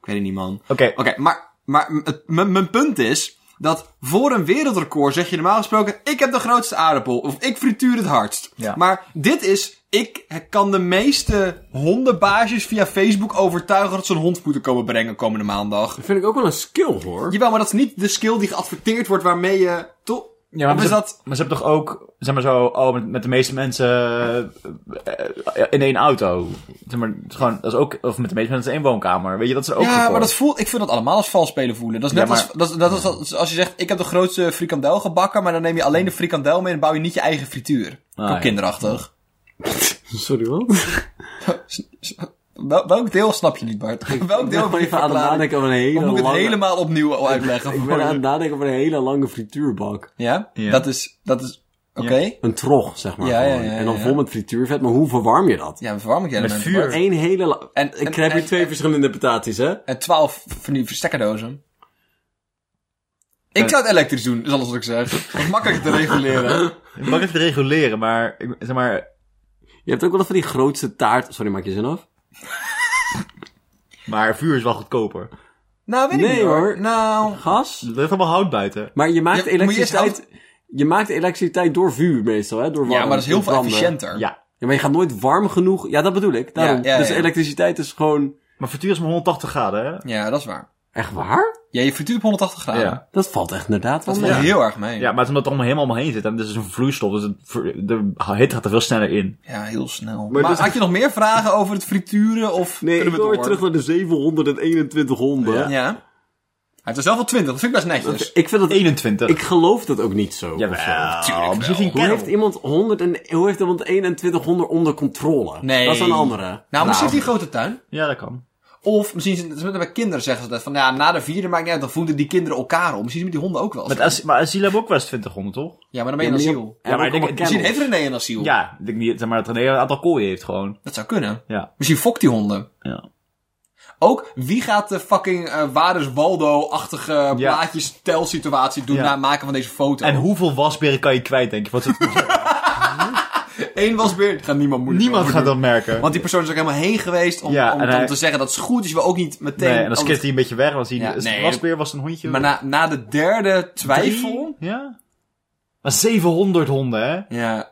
Speaker 3: Ik weet het niet, man.
Speaker 2: Oké.
Speaker 3: Oké, maar, maar m- het- m- mijn punt is dat voor een wereldrecord zeg je normaal gesproken: ik heb de grootste aardappel of ik frituur het hardst.
Speaker 2: Ja.
Speaker 3: Maar dit is. Ik kan de meeste hondenbaasjes via Facebook overtuigen dat ze een hondvoeten komen brengen komende maandag.
Speaker 4: Dat vind ik ook wel een skill, hoor.
Speaker 3: Jawel, maar dat is niet de skill die geadverteerd wordt waarmee je. toch?
Speaker 2: Ja, maar,
Speaker 3: Of
Speaker 2: ze,
Speaker 3: is dat.
Speaker 2: maar ze hebben toch ook, zeg maar zo, oh, met, met de meeste mensen eh, in één auto. Zeg maar, het is gewoon, dat is ook, of met de meeste mensen in één woonkamer. Weet je, dat is er ook
Speaker 3: Ja,
Speaker 2: voor.
Speaker 3: maar dat voelt, ik vind dat allemaal als vals spelen voelen. Dat is net
Speaker 2: Ja, maar-
Speaker 3: als, dat, is- dat is als, als je zegt, ik heb de grootste frikandel gebakken, maar dan neem je alleen de frikandel mee en bouw je niet je eigen frituur.
Speaker 2: Ah,
Speaker 3: Ook
Speaker 2: ja.
Speaker 3: kinderachtig.
Speaker 4: Sorry, wat?
Speaker 3: Wel- welk deel snap je niet, Bart? Welk deel ben je
Speaker 4: aan het
Speaker 3: verklaring?
Speaker 4: nadenken over een
Speaker 3: Of
Speaker 4: hele
Speaker 3: moet ik het
Speaker 4: lange...
Speaker 3: helemaal opnieuw uitleggen?
Speaker 4: Ik
Speaker 3: voor
Speaker 4: ben
Speaker 3: je?
Speaker 4: aan het nadenken over een hele lange frituurbak.
Speaker 3: Ja? Dat is... Dat is Oké.
Speaker 4: Een trog, zeg maar.
Speaker 3: Ja, ja,
Speaker 4: gewoon.
Speaker 3: ja,
Speaker 4: en dan
Speaker 3: ja.
Speaker 4: vol met frituurvet. Maar hoe verwarm je dat?
Speaker 3: Ja, verwarming
Speaker 2: Met
Speaker 3: elementen,
Speaker 2: vuur.
Speaker 3: Bart.
Speaker 4: Eén hele... la-
Speaker 3: En-
Speaker 4: ik
Speaker 3: en-
Speaker 4: heb hier
Speaker 3: en-
Speaker 4: twee verschillende interpretaties, hè?
Speaker 3: En twaalf van die stekkerdozen. Ik
Speaker 4: Eh.
Speaker 3: zou het elektrisch doen, is alles wat ik zeg. Dat is makkelijk te reguleren.
Speaker 2: Je mag even reguleren, maar, ik- zeg maar,
Speaker 4: Je hebt ook wel eens van die grootste taart... Sorry, maak je zin af?
Speaker 2: maar vuur is wel goedkoper.
Speaker 3: Nou, weet ik
Speaker 4: Nee,
Speaker 3: niet
Speaker 4: hoor.
Speaker 3: Nou...
Speaker 4: Gas?
Speaker 2: Er ligt allemaal hout buiten.
Speaker 4: Maar je maakt
Speaker 3: Ja,
Speaker 4: elektriciteit...
Speaker 3: moet
Speaker 4: Je maakt elektriciteit door vuur meestal, hè? Door warm,
Speaker 3: Ja, maar dat is heel
Speaker 4: door
Speaker 3: veel
Speaker 4: branden.
Speaker 3: efficiënter.
Speaker 2: Ja.
Speaker 4: Ja, maar je gaat nooit warm genoeg... Ja, dat bedoel ik. Daarom.
Speaker 3: Ja, ja, ja,
Speaker 4: dus
Speaker 3: ja.
Speaker 4: elektriciteit is gewoon...
Speaker 2: Maar frituur is maar 180 graden, hè?
Speaker 3: Ja, dat is waar.
Speaker 4: Echt waar?
Speaker 3: Ja, je frituurt op 180 graden.
Speaker 2: Ja.
Speaker 4: Dat valt echt inderdaad wel
Speaker 3: Dat
Speaker 4: mee.
Speaker 3: valt heel erg mee.
Speaker 2: Ja, maar het is omdat het allemaal helemaal omheen zit. En dit is een vloeistof, dus het, ver- de hitte gaat er veel sneller in.
Speaker 3: Ja, heel snel. Maar,
Speaker 4: Maar dus-
Speaker 3: had je nog meer vragen over het frituren of...
Speaker 4: Nee, ik
Speaker 3: kunnen we
Speaker 4: wil weer
Speaker 3: door?
Speaker 4: terug naar de 721 honden.
Speaker 3: Ja. Hij heeft er zelf al 20, dat vind ik best netjes.
Speaker 4: Ik vind dat...
Speaker 2: 21.
Speaker 4: Ik geloof dat ook niet zo. of zo.
Speaker 2: Jawel.
Speaker 3: Tuurlijk
Speaker 2: Misschien
Speaker 3: wel.
Speaker 2: geen
Speaker 4: Hoe heeft
Speaker 2: kerel.
Speaker 4: iemand 100 en, hoe heeft iemand 2100 onder controle?
Speaker 3: Nee.
Speaker 4: Dat is een andere.
Speaker 3: Nou, misschien die grote tuin.
Speaker 2: Ja, dat kan.
Speaker 3: Of misschien zijn- ze met bij kinderen zeggen ze dat van ja, na de vierde maakt niet uit, dan voeden die kinderen elkaar op. Misschien met die honden ook wel. eens.
Speaker 2: Met As- maar Asila hebben ook wel eens 2000, toch?
Speaker 3: Ja, maar dan ben je een asiel.
Speaker 4: Ja, maar ik denk...
Speaker 3: Misschien heeft René een asiel.
Speaker 2: Ja, ik denk niet, zeg maar dat René een aantal kooien heeft gewoon.
Speaker 3: Dat zou kunnen.
Speaker 2: Ja.
Speaker 3: Misschien fokt die honden.
Speaker 2: Ja.
Speaker 3: Ook wie gaat de fucking eh waar is Waldo-achtige
Speaker 2: Ja.
Speaker 3: plaatjes telsituatie doen
Speaker 2: Ja.
Speaker 3: na het maken van deze foto?
Speaker 2: En hoeveel wasberen kan je kwijt, denk je? Want het-
Speaker 3: Eén was weer. Dat gaat niemand moeilijk
Speaker 2: niemand
Speaker 3: over
Speaker 2: gaat
Speaker 3: doen.
Speaker 2: dat merken.
Speaker 3: Want die persoon is ook helemaal heen geweest om,
Speaker 2: Ja,
Speaker 3: om
Speaker 2: en
Speaker 3: dan
Speaker 2: hij-
Speaker 3: te zeggen dat is goed, dus je wil ook niet meteen.
Speaker 2: nee, en dan
Speaker 3: alles-
Speaker 2: skipt hij een beetje weg. Want hij
Speaker 3: Ja,
Speaker 2: is
Speaker 3: nee,
Speaker 2: een wasbeer was het een hondje.
Speaker 3: Maar na, na de derde
Speaker 2: Drie?
Speaker 3: twijfel.
Speaker 2: Ja. Maar 700 honden, hè?
Speaker 3: Ja,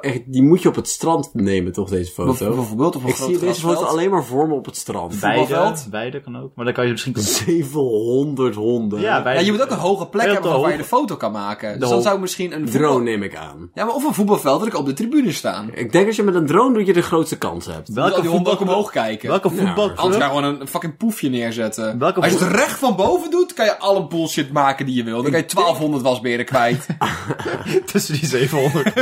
Speaker 4: Echt, die moet je op het strand nemen, toch, deze
Speaker 3: Bijv-
Speaker 4: foto?
Speaker 3: Bijvoorbeeld op een
Speaker 4: Ik
Speaker 3: groot
Speaker 4: zie deze foto
Speaker 3: grasveld.
Speaker 4: alleen maar voor me op het strand.
Speaker 2: Beide,
Speaker 3: Voetbalveld?
Speaker 2: beide kan ook. Maar dan kan je misschien...
Speaker 4: 700 honden.
Speaker 2: Ja,
Speaker 3: Ja,
Speaker 2: beide.
Speaker 3: je moet ook een hoge plek
Speaker 2: Heel
Speaker 3: hebben
Speaker 2: te
Speaker 3: van waar je
Speaker 2: hoog.
Speaker 3: de foto kan maken. Dus dan
Speaker 4: hoog.
Speaker 3: zou ik misschien een
Speaker 4: Drone
Speaker 3: voetbal-
Speaker 4: neem ik aan.
Speaker 3: Ja, maar of een voetbalveld dat ik op de tribune staan.
Speaker 4: Ik denk als je met een drone doet, je de grootste kans hebt.
Speaker 3: Welke die honden ook
Speaker 2: voetbalclub-
Speaker 3: omhoog kijken.
Speaker 2: Welke
Speaker 4: Ja,
Speaker 3: Anders
Speaker 2: voetbalclub...
Speaker 3: ga je gewoon een fucking poefje neerzetten.
Speaker 2: Welke
Speaker 3: Als je het
Speaker 2: voet-
Speaker 3: recht van boven doet, kan je alle bullshit maken die je wil. Dan kan je 1200 wasberen kwijt.
Speaker 2: Tussen die 700.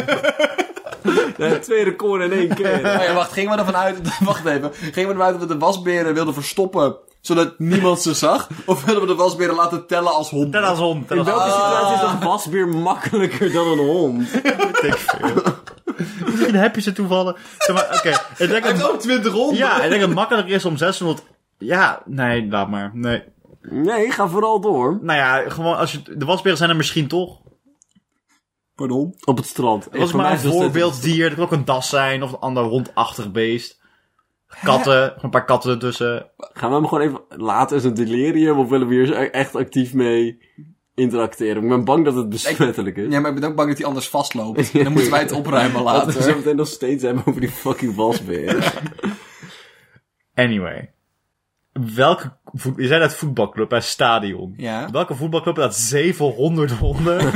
Speaker 4: Eh, Twee record in één keer.
Speaker 3: Oh ja, wacht, gingen we ervan uit... Wacht even. Gingen we ervan uit dat we de wasberen wilden verstoppen, zodat niemand ze zag? Of wilden we de wasberen laten tellen als honden?
Speaker 2: Tel als hond. tel
Speaker 4: In
Speaker 2: als
Speaker 4: welke
Speaker 2: hond.
Speaker 4: situatie is een wasbeer makkelijker dan een hond?
Speaker 2: Misschien heb je ze toevallig. Zeg maar, oké. Ik denk
Speaker 3: Hij heeft
Speaker 2: dat-
Speaker 3: ook 20 ronden.
Speaker 2: Ja, ik denk dat het makkelijker is om 600... Ja, nee, laat maar. Nee.
Speaker 4: Nee, ga vooral door.
Speaker 2: Nou ja, gewoon als je... De wasberen zijn er misschien toch.
Speaker 3: Pardon?
Speaker 4: Op het dus strand.
Speaker 2: Dat is
Speaker 4: Voor mij
Speaker 2: maar een
Speaker 4: dat-
Speaker 2: voorbeelddier. Dat kan ook een das zijn of een ander hondachtig beest. Katten, gewoon een paar katten ertussen.
Speaker 4: Gaan we hem gewoon even laten als een delirium of willen we hier e- echt actief mee interacteren? Ik ben bang dat het besmettelijk is.
Speaker 3: Ja, maar ik ben ook bang dat hij anders vastloopt. En dan moeten wij het opruimen
Speaker 4: Laten we het zo
Speaker 3: later.
Speaker 4: meteen nog steeds hebben over die fucking wasbeer.
Speaker 2: Anyway. Welke, voet- je zei dat voetbalclub bij stadion.
Speaker 3: Ja.
Speaker 2: Welke voetbalclub had 700 honden?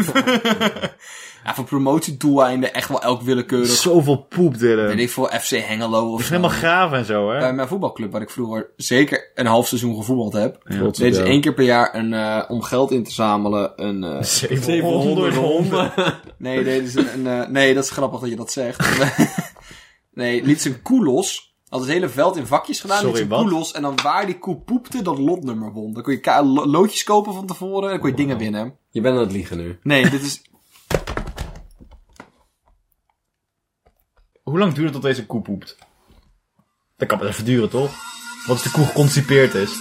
Speaker 3: Ja, voor promotiedoeleinden echt wel elk willekeurig.
Speaker 2: Zoveel poep,
Speaker 3: Weet
Speaker 2: Dylan.
Speaker 3: ik veel, FC Hengelo of zo.
Speaker 2: Helemaal graven en zo, hè?
Speaker 3: Bij mijn voetbalclub, waar ik vroeger zeker een half seizoen gevoetbald heb,
Speaker 4: Trots op
Speaker 3: deden ze
Speaker 4: jou.
Speaker 3: één keer per jaar een, eh, om geld in te zamelen. Een, eh,
Speaker 2: 700 honden.
Speaker 3: nee, deden ze een, eh, nee, dat is grappig dat je dat zegt. nee, liet ze een koe los. Had het hele veld in vakjes gedaan.
Speaker 2: Sorry,
Speaker 3: liet ze een
Speaker 2: wat?
Speaker 3: koe los. En dan waar die koe poepte, dat lotnummer won. Dan kon je ka- lo- loodjes kopen van tevoren. En dan kon je dingen winnen.
Speaker 4: Je bent aan het liegen nu.
Speaker 3: Nee, dit is...
Speaker 2: Hoe lang duurt het tot deze koe poept? Dat kan wel even duren, toch? Wat als de koe geconstipeerd is?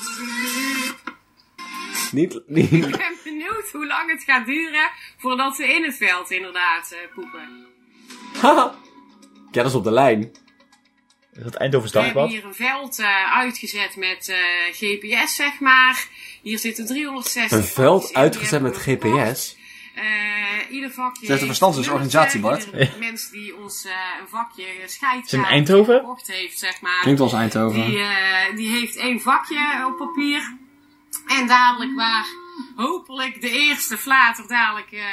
Speaker 4: Niet, niet.
Speaker 7: Ik ben benieuwd hoe lang het gaat duren voordat ze in het veld inderdaad eh, poepen.
Speaker 4: Haha. Ja, dat is op de lijn.
Speaker 2: Is dat Eindhoven
Speaker 7: We hebben
Speaker 2: Dagblad?
Speaker 7: hier een veld eh, uitgezet met eh, GPS, zeg maar. Hier zitten 360.
Speaker 4: Een veld
Speaker 7: vakjes in,
Speaker 4: uitgezet
Speaker 7: die
Speaker 4: met
Speaker 7: hebben we gekocht.
Speaker 4: GPS.
Speaker 7: Eh, ieder vakje.
Speaker 3: Zet een verstandslose
Speaker 7: heeft
Speaker 3: organisatie,
Speaker 7: nummertje.
Speaker 3: Bart.
Speaker 7: Ieder mens die ons eh, een vakje scheidt.
Speaker 2: Is het in Eindhoven?
Speaker 7: gekocht heeft, zeg maar.
Speaker 3: Klinkt als Eindhoven.
Speaker 7: Die, eh, die heeft één vakje op papier. En dadelijk waar hopelijk de eerste flater dadelijk eh,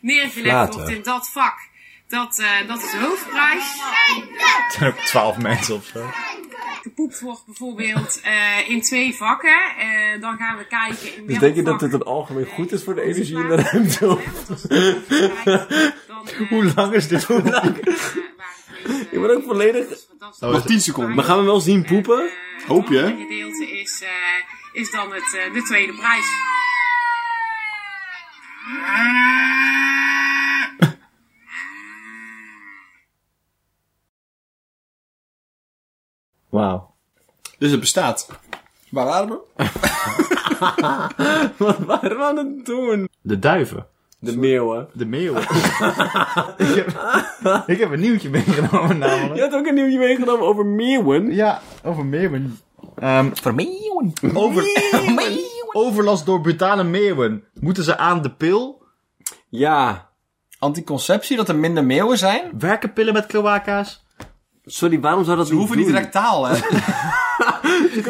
Speaker 7: neergelegd
Speaker 4: Flater.
Speaker 7: wordt in dat vak. Dat, eh, dat is de hoofdprijs.
Speaker 2: Het zijn ook twaalf mensen of zo.
Speaker 7: Gepoept wordt bijvoorbeeld eh, in twee vakken. Eh, dan gaan we kijken
Speaker 4: Dus
Speaker 7: in welk
Speaker 4: denk je dat
Speaker 7: vak,
Speaker 4: dit een algemeen goed is voor de
Speaker 7: eh, onze
Speaker 4: energie in de
Speaker 7: plaats is,
Speaker 4: ruimte?
Speaker 7: hè? Want als het goed is, dan, eh,
Speaker 2: Hoe lang is dit? Hoe lang?
Speaker 7: eh, waar het meest, eh,
Speaker 4: Ik ben ook volledig-
Speaker 7: is, want dat is
Speaker 8: Nog
Speaker 7: dan-
Speaker 8: 10
Speaker 4: Maar gaan we wel zien poepen?
Speaker 7: Eh,
Speaker 9: Hoop je, hè?
Speaker 7: Het andere gedeelte is, eh, is dan het, eh, de tweede prijs.
Speaker 2: Wauw.
Speaker 9: Dus het bestaat. Waar waren we?
Speaker 4: Wat waren we aan het doen?
Speaker 2: De duiven.
Speaker 4: De meeuwen.
Speaker 2: De meeuwen. ik, heb, ik heb een nieuwtje meegenomen namelijk.
Speaker 4: Je had ook een nieuwtje meegenomen over meeuwen.
Speaker 9: Ja, over meeuwen. Ehm,
Speaker 10: Vermeeuwen.
Speaker 9: over, overlast door brutale meeuwen. Moeten ze aan de pil?
Speaker 4: Ja.
Speaker 3: Anticonceptie, dat er minder meeuwen zijn?
Speaker 2: Werken pillen met cloaca's?
Speaker 4: Sorry, waarom zou dat
Speaker 3: We hoeven niet
Speaker 4: doen?
Speaker 3: rectaal, hè?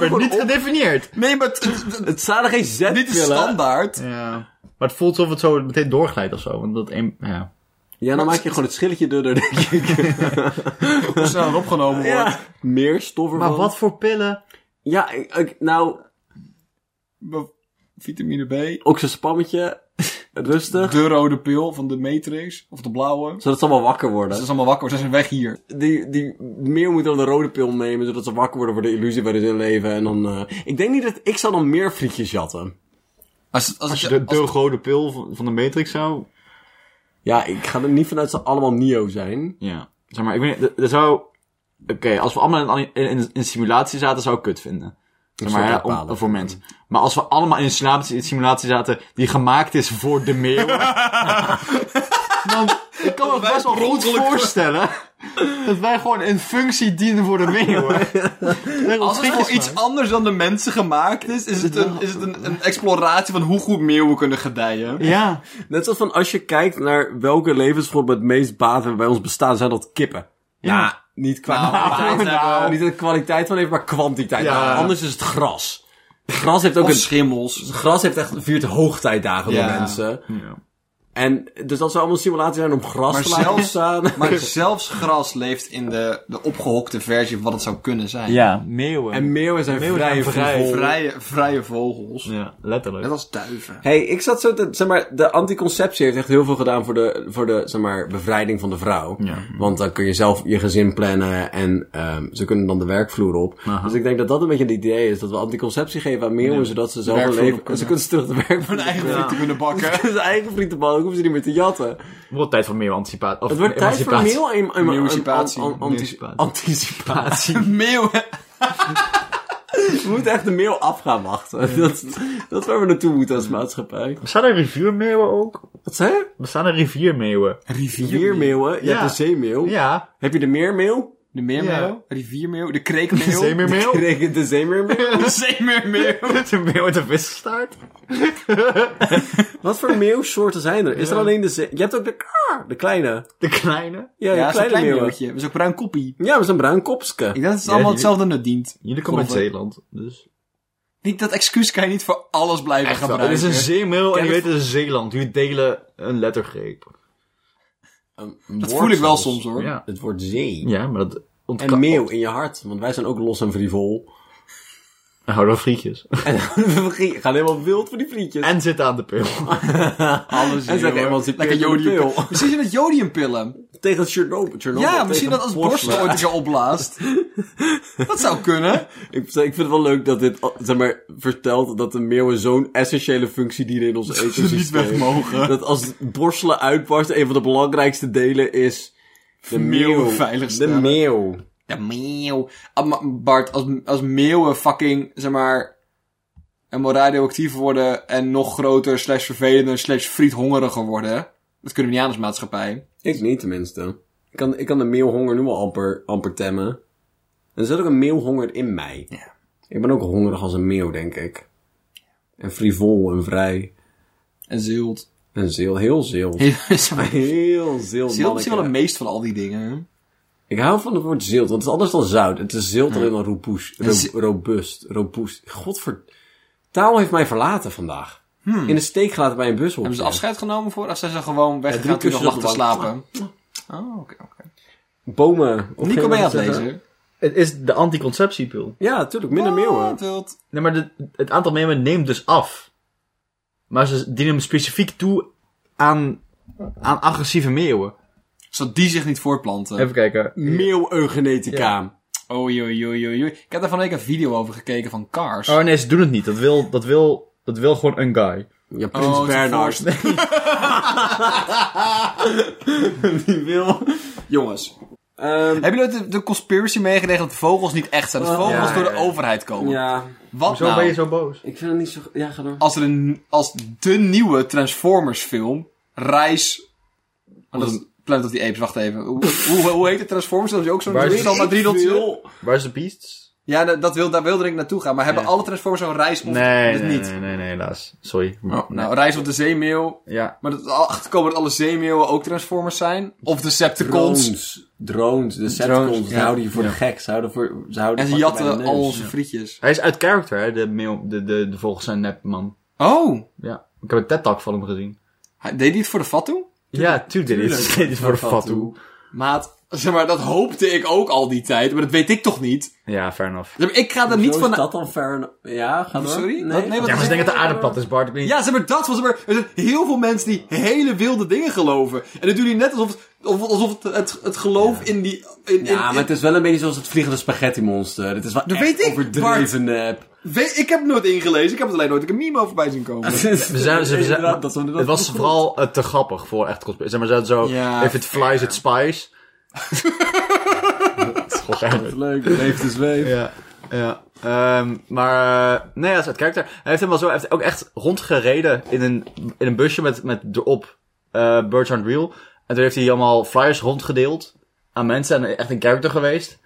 Speaker 9: Werd niet gedefinieerd.
Speaker 3: Nee, maar het- het- het-
Speaker 4: Het staat er geen z
Speaker 3: dit is standaard.
Speaker 9: Ja.
Speaker 2: Maar het voelt alsof het zo meteen doorglijdt of zo. Want dat een, ja.
Speaker 4: Ja, dan maak je gewoon het schilletje door.
Speaker 3: Hoe snel opgenomen wordt.
Speaker 4: Ja. Meer stof ervan.
Speaker 2: Maar wat voor pillen?
Speaker 4: Ja, ik, ik- nou,
Speaker 3: Be- Vitamine B.
Speaker 4: ook zo'n spammetje. Rustig.
Speaker 3: De rode pil van de Matrix. Of de blauwe.
Speaker 4: Zodat ze allemaal wakker
Speaker 3: Dat
Speaker 4: worden.
Speaker 3: is allemaal wakker, ze zijn weg hier.
Speaker 4: Dus Die, die meer moeten dan de rode pil nemen, zodat ze wakker worden voor de illusie waarin ze leven. En dan, eh, ik denk niet dat ik zou dan meer frietjes jatten.
Speaker 3: Als, als,
Speaker 9: Als je
Speaker 3: je-
Speaker 9: de,
Speaker 3: als-
Speaker 9: de rode pil van, van de Matrix zou...
Speaker 4: Ja, ik ga er niet vanuit dat ze allemaal Nio zijn.
Speaker 2: Ja. Zeg maar, ik weet niet, er- er zou... Oké, als we allemaal in, in, in een simulatie zaten, zou ik kut vinden. Zeg maar,
Speaker 4: soort
Speaker 2: hè, om-
Speaker 4: bepalen.
Speaker 2: voor mensen. Maar als we allemaal in een simulatie, in een simulatie zaten die gemaakt is voor de meeuwen... dan, ik kan me best wel goed voorstellen dat wij gewoon een functie dienen voor de meeuwen.
Speaker 3: als het voor iets anders dan de mensen gemaakt is, is het, een, is het een, een exploratie van hoe goed meeuwen kunnen gedijen.
Speaker 2: Ja.
Speaker 4: Net zoals van als je kijkt naar welke levensvorm het meest baat hebben bij ons bestaan, zijn dat kippen. Ja, niet qua kwaliteit.
Speaker 2: nou.
Speaker 4: Niet de kwaliteit van even, maar kwantiteit.
Speaker 9: Ja.
Speaker 4: Anders is het gras. Gras heeft ook
Speaker 3: Of
Speaker 4: een
Speaker 3: schimmels.
Speaker 4: Gras heeft echt viert hoogtijdagen
Speaker 3: Ja.
Speaker 4: door mensen. En dus dat zou allemaal simulaties zijn om gras
Speaker 3: Maar
Speaker 4: te laten
Speaker 3: zelfs-
Speaker 4: staan.
Speaker 3: Maar zelfs gras leeft in de, de opgehokte versie van wat het zou kunnen zijn.
Speaker 2: Ja, meeuwen.
Speaker 4: En meeuwen zijn
Speaker 2: Meeuwen
Speaker 4: vrij
Speaker 2: zijn vrij.
Speaker 4: vrij.
Speaker 3: Vrije, vrije vogels.
Speaker 2: ja, letterlijk.
Speaker 3: Net als duiven.
Speaker 4: Hey, ik zat zo te, zeg maar, de anticonceptie heeft echt heel veel gedaan voor de, voor de, zeg maar, bevrijding van de vrouw.
Speaker 2: Ja.
Speaker 4: Want dan kun je zelf je gezin plannen en ehm, ze kunnen dan de werkvloer op.
Speaker 2: Aha.
Speaker 4: Dus ik denk dat dat een beetje het idee is, dat we anticonceptie geven aan meeuwen, zodat ze zelf een
Speaker 9: werkvloer
Speaker 4: leven,
Speaker 9: op kunnen.
Speaker 4: ze kunnen ze terug de werkvloer
Speaker 3: Hun eigen frieten kunnen bakken.
Speaker 4: Hun eigen vrietenbal, dan hoeven ze niet meer te jatten.
Speaker 2: Wordt tijd voor meeuwen anticipatie.
Speaker 4: Het wordt tijd voor meeuw en, en, en-
Speaker 3: Emancipatie.
Speaker 4: an- an- anti-
Speaker 2: Emancipatie.
Speaker 4: anticipatie.
Speaker 3: Meeuwen.
Speaker 4: We moeten echt de mail af gaan wachten. Dat, is- dat is waar we naartoe moeten als maatschappij.
Speaker 2: Bestaan er riviermeeuwen ook?
Speaker 4: Wat zei je?
Speaker 2: Bestaan er riviermeeuwen?
Speaker 4: Riviermeeuwen. Je
Speaker 9: Ja.
Speaker 4: hebt de zeemeeuw.
Speaker 9: Ja.
Speaker 4: Heb je de meermeeuw?
Speaker 3: De meermeeuw, riviermeeuw, de kreekmeeuw.
Speaker 9: Zeemeermeeuw?
Speaker 4: Ik reken de zeemeermeeuw.
Speaker 3: De zeemeermeeuw.
Speaker 2: De meeuw en de vissenstaart?
Speaker 4: Wat voor meeuwsoorten zijn er? Is er alleen de zee... Je hebt ook de kaar, de kleine.
Speaker 2: De kleine?
Speaker 4: Ja,
Speaker 3: Ja,
Speaker 4: de
Speaker 3: zo'n
Speaker 4: kleine
Speaker 3: klein
Speaker 4: meeuw.
Speaker 3: meeuwtje. Dat is ook bruin koppie.
Speaker 4: Ja, we zijn bruin kopske.
Speaker 3: Ik denk dat het
Speaker 2: Ja,
Speaker 3: allemaal
Speaker 2: die-
Speaker 3: hetzelfde nut dient.
Speaker 2: Jullie komen uit
Speaker 3: Godver-
Speaker 2: Zeeland, dus...
Speaker 3: Niet dat excuus kan je niet voor alles blijven
Speaker 2: Het
Speaker 3: gebruiken.
Speaker 2: is een zeemeeuw en
Speaker 4: Ken
Speaker 2: je
Speaker 4: het-
Speaker 2: weet het is Zeeland. Jullie delen een lettergreep.
Speaker 3: dat voel ik wel soms hoor.
Speaker 2: Ja.
Speaker 4: Het wordt zee.
Speaker 2: Ja, maar dat... ontka-
Speaker 4: En meeuw in je hart, want wij zijn ook los en frivol.
Speaker 2: En houden van frietjes.
Speaker 4: En we gaan helemaal wild voor die vriendjes.
Speaker 2: En zitten aan de pil.
Speaker 3: Alles
Speaker 4: En zeg
Speaker 3: joh.
Speaker 4: emancipeert
Speaker 3: Lekker
Speaker 4: door de
Speaker 3: jodiumpil.
Speaker 4: pil.
Speaker 3: Misschien zijn het jodiumpillen.
Speaker 4: tegen het Chernobyl. Chernobyl,
Speaker 3: ja,
Speaker 4: tegen
Speaker 3: misschien dat als het
Speaker 4: Bosma.
Speaker 3: borstel ooit een keer opblaast. dat zou kunnen.
Speaker 4: Ik, ik vind het wel leuk dat dit, zeg maar, vertelt dat de meeuwen zo'n essentiële functie dienen in ons ecosysteem.
Speaker 3: niet weg mogen.
Speaker 4: Dat als borstelen uitbarst, een van de belangrijkste delen is de
Speaker 3: meeuwen
Speaker 4: meeuw.
Speaker 3: veilig
Speaker 4: De
Speaker 3: stellen.
Speaker 4: meeuw.
Speaker 3: De meeuw. Ah, maar Bart, als, als meeuwen fucking, zeg maar, helemaal radioactief worden en nog groter, slash vervelender, slash friethongeriger worden. Dat kunnen we niet aan als maatschappij.
Speaker 4: Ik niet tenminste. Ik kan, ik kan de meelhonger nu al amper, amper temmen. En er zit ook een meelhonger in mij. Ik ben ook hongerig als een meeuw, denk ik. En frivol en vrij.
Speaker 3: En zielt.
Speaker 4: En zeel, heel zeel. Heel zeel,
Speaker 3: Zielt is wel
Speaker 4: manneke.
Speaker 3: het meest van al die dingen.
Speaker 4: Ik hou van het woord zilt, want het is anders dan zout. Het is zilt alleen maar roepoes, ro-
Speaker 3: zi-
Speaker 4: robuust, robuust. Godver... Taal heeft mij verlaten vandaag. In de steek gelaten bij een bus.
Speaker 3: Hmm. Hebben ze afscheid genomen voor? Of zijn ze gewoon weggegaan toen
Speaker 4: drie
Speaker 3: nog
Speaker 4: kussen
Speaker 3: lag
Speaker 4: op
Speaker 3: te
Speaker 4: de bank.
Speaker 3: slapen? Oh, oké, oké.
Speaker 4: Bomen. Op
Speaker 3: Nico,
Speaker 4: geen
Speaker 3: ben je aan
Speaker 4: moment
Speaker 3: het
Speaker 4: zeggen-
Speaker 3: lezen?
Speaker 2: Het is de anticonceptiepil.
Speaker 4: Ja, tuurlijk. Minder meeuwen.
Speaker 3: Wat wild.
Speaker 2: Nee, maar de- het aantal meeuwen neemt dus af. Maar ze dienen hem specifiek toe aan, aan agressieve meeuwen.
Speaker 3: Zodat die zich niet voortplanten.
Speaker 2: Even kijken.
Speaker 4: Meeuw-eugenetica.
Speaker 3: Oei, oei, oei, oei, oei. Ik heb daar van de week een video over gekeken van Cars.
Speaker 2: Oh nee, ze doen het niet. Dat wil, dat wil, dat wil gewoon een guy.
Speaker 4: Ja, Prins
Speaker 3: Oh,
Speaker 4: Bernhard. Die wil... Jongens. Ehm,
Speaker 3: Hebben jullie ooit de, de conspiracy meegekregen dat vogels niet echt zijn? Dat
Speaker 4: Oh,
Speaker 3: vogels
Speaker 4: ja,
Speaker 3: door de
Speaker 4: ja, ja.
Speaker 3: overheid komen?
Speaker 4: ja,
Speaker 3: Wat
Speaker 2: Zo
Speaker 3: nou?
Speaker 2: ben je zo boos.
Speaker 4: ik vind het niet zo... Ja, ga door.
Speaker 3: Als, er een, als de nieuwe Transformers film, Reis... Oh, dat is Planet of the Apes, wacht even. Hoe, hoe, hoe heet het Transformers? Dat is ook zo'n
Speaker 2: Waar is
Speaker 3: toestel naar Drieltje.
Speaker 2: Waar is de beasts?
Speaker 3: Ja, da- dat wil, daar wilde ik naartoe gaan. Maar hebben alle Transformers zo'n reis of
Speaker 2: Nee,
Speaker 3: dat
Speaker 2: nee,
Speaker 3: niet?
Speaker 2: nee, nee, nee, helaas. Sorry.
Speaker 3: Oh, nou, Reis op de Zeemeeuw.
Speaker 2: Ja.
Speaker 3: Maar dat we erachter komen dat alle zeemeeuwen ook Transformers zijn. Of Decepticons.
Speaker 4: Drones. Drones. De Decepticons. Ze houden je voor de gek. Ze houden voor... Ze houden
Speaker 3: En ze
Speaker 4: pakken bij de
Speaker 3: jatten
Speaker 4: neus.
Speaker 3: al onze vriendjes.
Speaker 2: Hij is uit character, hè? De, mail, de, de, de volgens zijn nepman.
Speaker 3: Oh,
Speaker 2: Ja. Ik heb een TED-talk van hem gezien.
Speaker 3: hij- deed hij het voor de fat toe?
Speaker 2: Ja, tuurlijk. Dit is, dit is voor de fatu.
Speaker 3: Maat, zeg maar, dat hoopte ik ook al die tijd, maar dat weet ik toch niet?
Speaker 2: Ja, fair enough.
Speaker 3: Zeg maar, ik ga er niet
Speaker 4: Zo is
Speaker 3: van...
Speaker 4: dat dan fair enough. Ja, ga door.
Speaker 3: Sorry?
Speaker 4: Nee,
Speaker 3: Wat- nee, wat-
Speaker 2: Ja, maar ze denken dat de aarde plat is, Bart. Ik weet niet-
Speaker 3: Ja, zeg maar, dat was... zeg Maar, er zijn heel veel mensen die hele wilde dingen geloven. En dat doen die net alsof, het- of- alsof het, het, het geloof in die... In, in-
Speaker 4: Ja, maar het is wel een beetje zoals het vliegende spaghetti monster. Het is wel
Speaker 3: Dat
Speaker 4: echt
Speaker 3: weet ik,
Speaker 4: overdreven nep.
Speaker 3: Weet- ik heb het nooit ingelezen, ik heb het alleen nooit een meme over bij zien komen.
Speaker 2: We zijn, ze- we zijn-
Speaker 4: Inderdaad, dat we dat-
Speaker 2: het was vooral eh, te grappig voor echt cosplay. Zeg maar, ze hadden zo,
Speaker 3: Ja,
Speaker 2: if it flies, it spies. dat is gewoon geil.
Speaker 4: Leuk, leef de zweef.
Speaker 2: Ja, ja. Ehm, maar, eh, nee, dat is het karakter. Hij heeft helemaal zo, hij heeft ook echt rondgereden in een, in een busje met, met erop eh Birds on Real. En toen heeft hij allemaal flyers rondgedeeld aan mensen en echt een karakter geweest.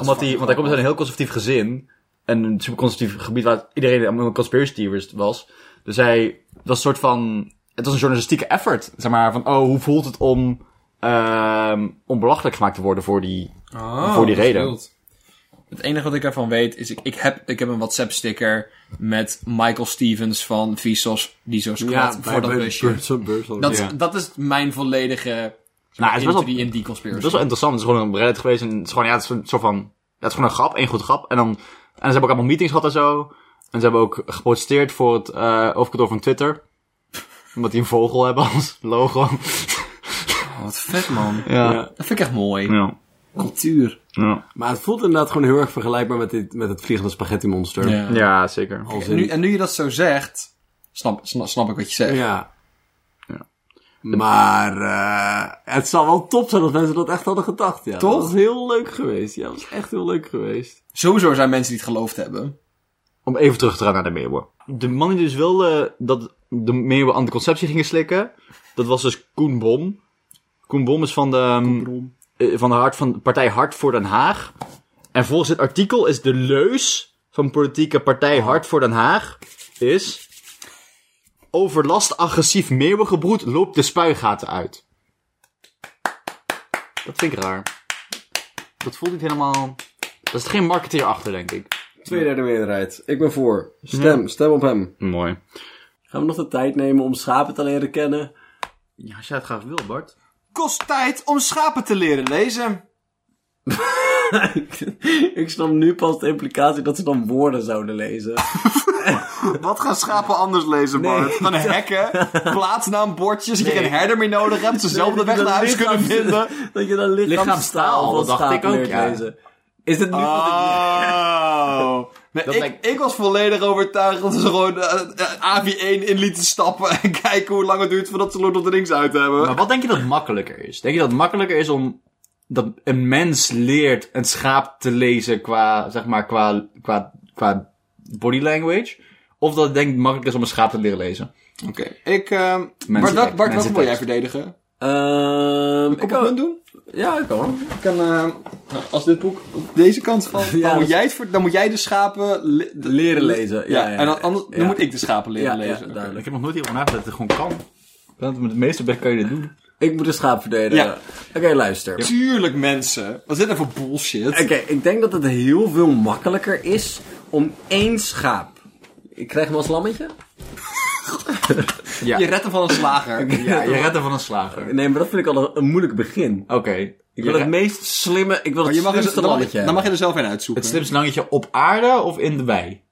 Speaker 2: omdat hij, want hij komt uit een heel conservatief gezin. En een super conservatief gebied waar iedereen allemaal conspiracy theorist was. Dus hij, het was een soort van, het was een journalistieke effort. Zeg maar, van, oh, hoe voelt het om, ehm om belachelijk gemaakt te worden voor die, voor die reden.
Speaker 3: Oh, Het enige wat ik ervan weet is, ik, ik, heb, ik heb een WhatsApp-sticker met Michael Stevens van Vsauce, die zo squat voor dat busje. Dat, dat is mijn volledige
Speaker 2: Nou, het was wel-
Speaker 3: entry in die conspiracy.
Speaker 2: Het is wel interessant. Het is gewoon een Reddit geweest. En het is gewoon, ja, het is een soort van... ja, het is gewoon een grap. één goed grap. En, dan, en ze hebben ook allemaal meetings gehad en zo. En ze hebben ook geprotesteerd voor het eh overkantoor van Twitter. Omdat die een vogel hebben als logo.
Speaker 3: Oh, wat vet, man.
Speaker 2: Ja.
Speaker 4: Ja.
Speaker 2: Ja.
Speaker 3: Dat vind ik echt mooi.
Speaker 2: ja.
Speaker 4: Cultuur. Maar het voelt inderdaad gewoon heel erg vergelijkbaar met, dit, met het vliegende spaghetti monster.
Speaker 3: Ja.
Speaker 2: zeker.
Speaker 4: Als
Speaker 3: En,
Speaker 4: in-
Speaker 3: nu, en nu je dat zo zegt, snap, snap, snap ik wat je zegt.
Speaker 4: Ja. Maar eh, het zou wel top zijn als mensen dat echt hadden gedacht. Ja.
Speaker 3: Toch?
Speaker 4: Dat was heel leuk geweest. Ja, dat was echt heel leuk geweest.
Speaker 3: Sowieso zijn mensen die het geloofd hebben.
Speaker 2: Om even terug te gaan naar de meeuwen. De man die dus wilde dat de meeuwen anticonceptie gingen slikken. Dat was dus Koen Bom. Koen Bom is van de, ehm, eh, van de, hart, van de partij Hart voor Den Haag. En volgens dit artikel is de leus van politieke partij Hart voor Den Haag... is... Overlast agressief meeuwengebroed loopt de spuigaten uit. Dat vind ik raar. Dat voelt niet helemaal... Daar zit geen marketeer achter, denk ik.
Speaker 4: Tweederde meerderheid. Ik ben voor. Stem, stem op hem.
Speaker 2: Mooi.
Speaker 4: Gaan we nog de tijd nemen om schapen te leren kennen?
Speaker 2: Ja, als jij het graag wil, Bart.
Speaker 3: Kost tijd om schapen te leren lezen.
Speaker 4: ik snap nu pas de implicatie dat ze dan woorden zouden lezen.
Speaker 3: Wat gaan schapen anders lezen, Bart? Van hekken, plaatsnaambordjes, dat je geen herder meer nodig hebt, ze zelf de weg naar huis kunnen vinden.
Speaker 4: Dat je dan lichaamstaal van
Speaker 2: dat dacht ik
Speaker 4: schapen
Speaker 2: ook,
Speaker 4: leert
Speaker 2: ja. Ah.
Speaker 4: lezen. Is het nu wat ik...
Speaker 3: Oh. Nee, ik,
Speaker 2: lijkt-
Speaker 3: ik was volledig overtuigd dat ze gewoon eh, eh, AV1 in lieten stappen en kijken hoe lang het duurt voordat ze Lord of the Rings uit hebben.
Speaker 2: Maar wat denk je dat makkelijker is? Denk je dat het makkelijker is om dat een mens leert een schaap te lezen qua, zeg maar, qua, qua, qua body language? Of dat het denk ik makkelijker is om een schaap te leren lezen?
Speaker 3: Oké, ik... ehm, Bart, wat- Bart, wat wil
Speaker 2: mensentekst.
Speaker 3: jij verdedigen?
Speaker 4: Ehm ik
Speaker 3: Kan ik
Speaker 4: kan,
Speaker 3: dat doen?
Speaker 4: ja, ik kan wel.
Speaker 3: Ik kan, eh, nou, als dit boek op deze kant
Speaker 4: Ja,
Speaker 3: valt, dan,
Speaker 4: dat-
Speaker 3: moet jij het voor, dan moet jij de schapen le- de-
Speaker 4: Leren lezen. Ja,
Speaker 3: Ja,
Speaker 4: ja,
Speaker 3: en dan, anders,
Speaker 4: ja.
Speaker 3: dan moet ik de schapen
Speaker 4: Ja,
Speaker 3: leren
Speaker 4: ja,
Speaker 3: lezen. Oké.
Speaker 4: duidelijk.
Speaker 2: Ik heb nog nooit hierover nagedacht dat het gewoon kan. Want met het meeste bek kan je dit doen.
Speaker 4: Ik moet de schaap verdedigen.
Speaker 3: Ja.
Speaker 4: Oké, luister.
Speaker 3: Tuurlijk, mensen. Wat is dit nou voor bullshit?
Speaker 4: Oké, ik denk dat het heel veel makkelijker is om één schaap. Ik krijg hem als lammetje?
Speaker 3: Je redt hem van een slager.
Speaker 2: Ja, je redt er van een slager. Oké.
Speaker 4: Nee, maar dat vind ik al een, een moeilijk begin. Ik wil
Speaker 2: Je
Speaker 4: het
Speaker 2: redt-
Speaker 4: meest slimme, ik wil
Speaker 3: Maar
Speaker 4: het
Speaker 3: Oh, je mag er,
Speaker 4: slimste
Speaker 3: dan, mag,
Speaker 4: lammetje
Speaker 3: dan mag je er zelf een uitzoeken.
Speaker 2: Het slimste langetje op aarde of in de wei?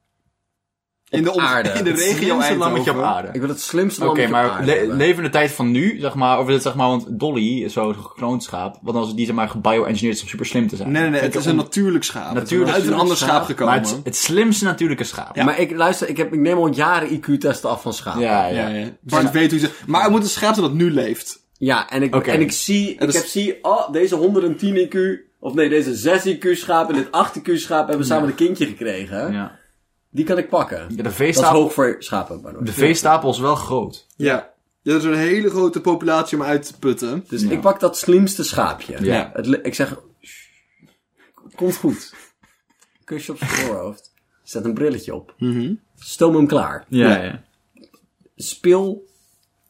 Speaker 3: in de, om-
Speaker 4: aarde.
Speaker 3: In de
Speaker 4: Het
Speaker 3: regio
Speaker 2: Slimste lammetje op
Speaker 3: Eindhoven.
Speaker 2: aarde.
Speaker 4: hebben. Ik wil het slimste
Speaker 2: Oké,
Speaker 4: lammetje op
Speaker 2: maar
Speaker 4: aarde
Speaker 2: le-
Speaker 4: hebben.
Speaker 2: leven in de tijd van nu, zeg maar, of is het zeg maar, want Dolly is zo'n gekloond schaap, want als die zeg maar gebioengineerd is om super slim te zijn.
Speaker 3: Nee, nee, nee. Het
Speaker 2: Vind
Speaker 3: is
Speaker 2: ik
Speaker 3: een
Speaker 2: on-
Speaker 3: natuurlijk schaap.
Speaker 2: Natuurlijk
Speaker 3: Het is uit een ander schaap
Speaker 4: schaap,
Speaker 3: gekomen.
Speaker 2: Maar het, het slimste natuurlijke schaap.
Speaker 4: Maar ik, luister, ik, heb, ik neem al jaren IQ-testen af van schapen.
Speaker 2: ja.
Speaker 3: ja, ja. Maar ik weet hoe ze... Maar het moet een schaap zijn dat nu leeft.
Speaker 4: Ja, en ik,
Speaker 2: Oké.
Speaker 4: en ik zie, ik
Speaker 3: is-
Speaker 4: heb zie, oh, deze 110 IQ, of nee, deze 6 IQ-schaap en dit 8 IQ-schaap hebben samen een kindje gekregen.
Speaker 2: Ja.
Speaker 4: Die kan ik pakken.
Speaker 2: Ja, de,
Speaker 4: Dat is
Speaker 2: veestapel,
Speaker 4: hoog voor schapen, by the way.
Speaker 2: de veestapel is wel groot.
Speaker 3: Ja. Ja, dat is een hele grote populatie om uit te putten.
Speaker 4: Dus ik pak dat slimste schaapje.
Speaker 2: Ja.
Speaker 4: Het, li- ik zeg, "Shh, komt goed. Kusje op zijn voorhoofd. Zet een brilletje op.
Speaker 3: Mhm.
Speaker 4: Stoom hem klaar.
Speaker 2: Ja, ja.
Speaker 4: Speel,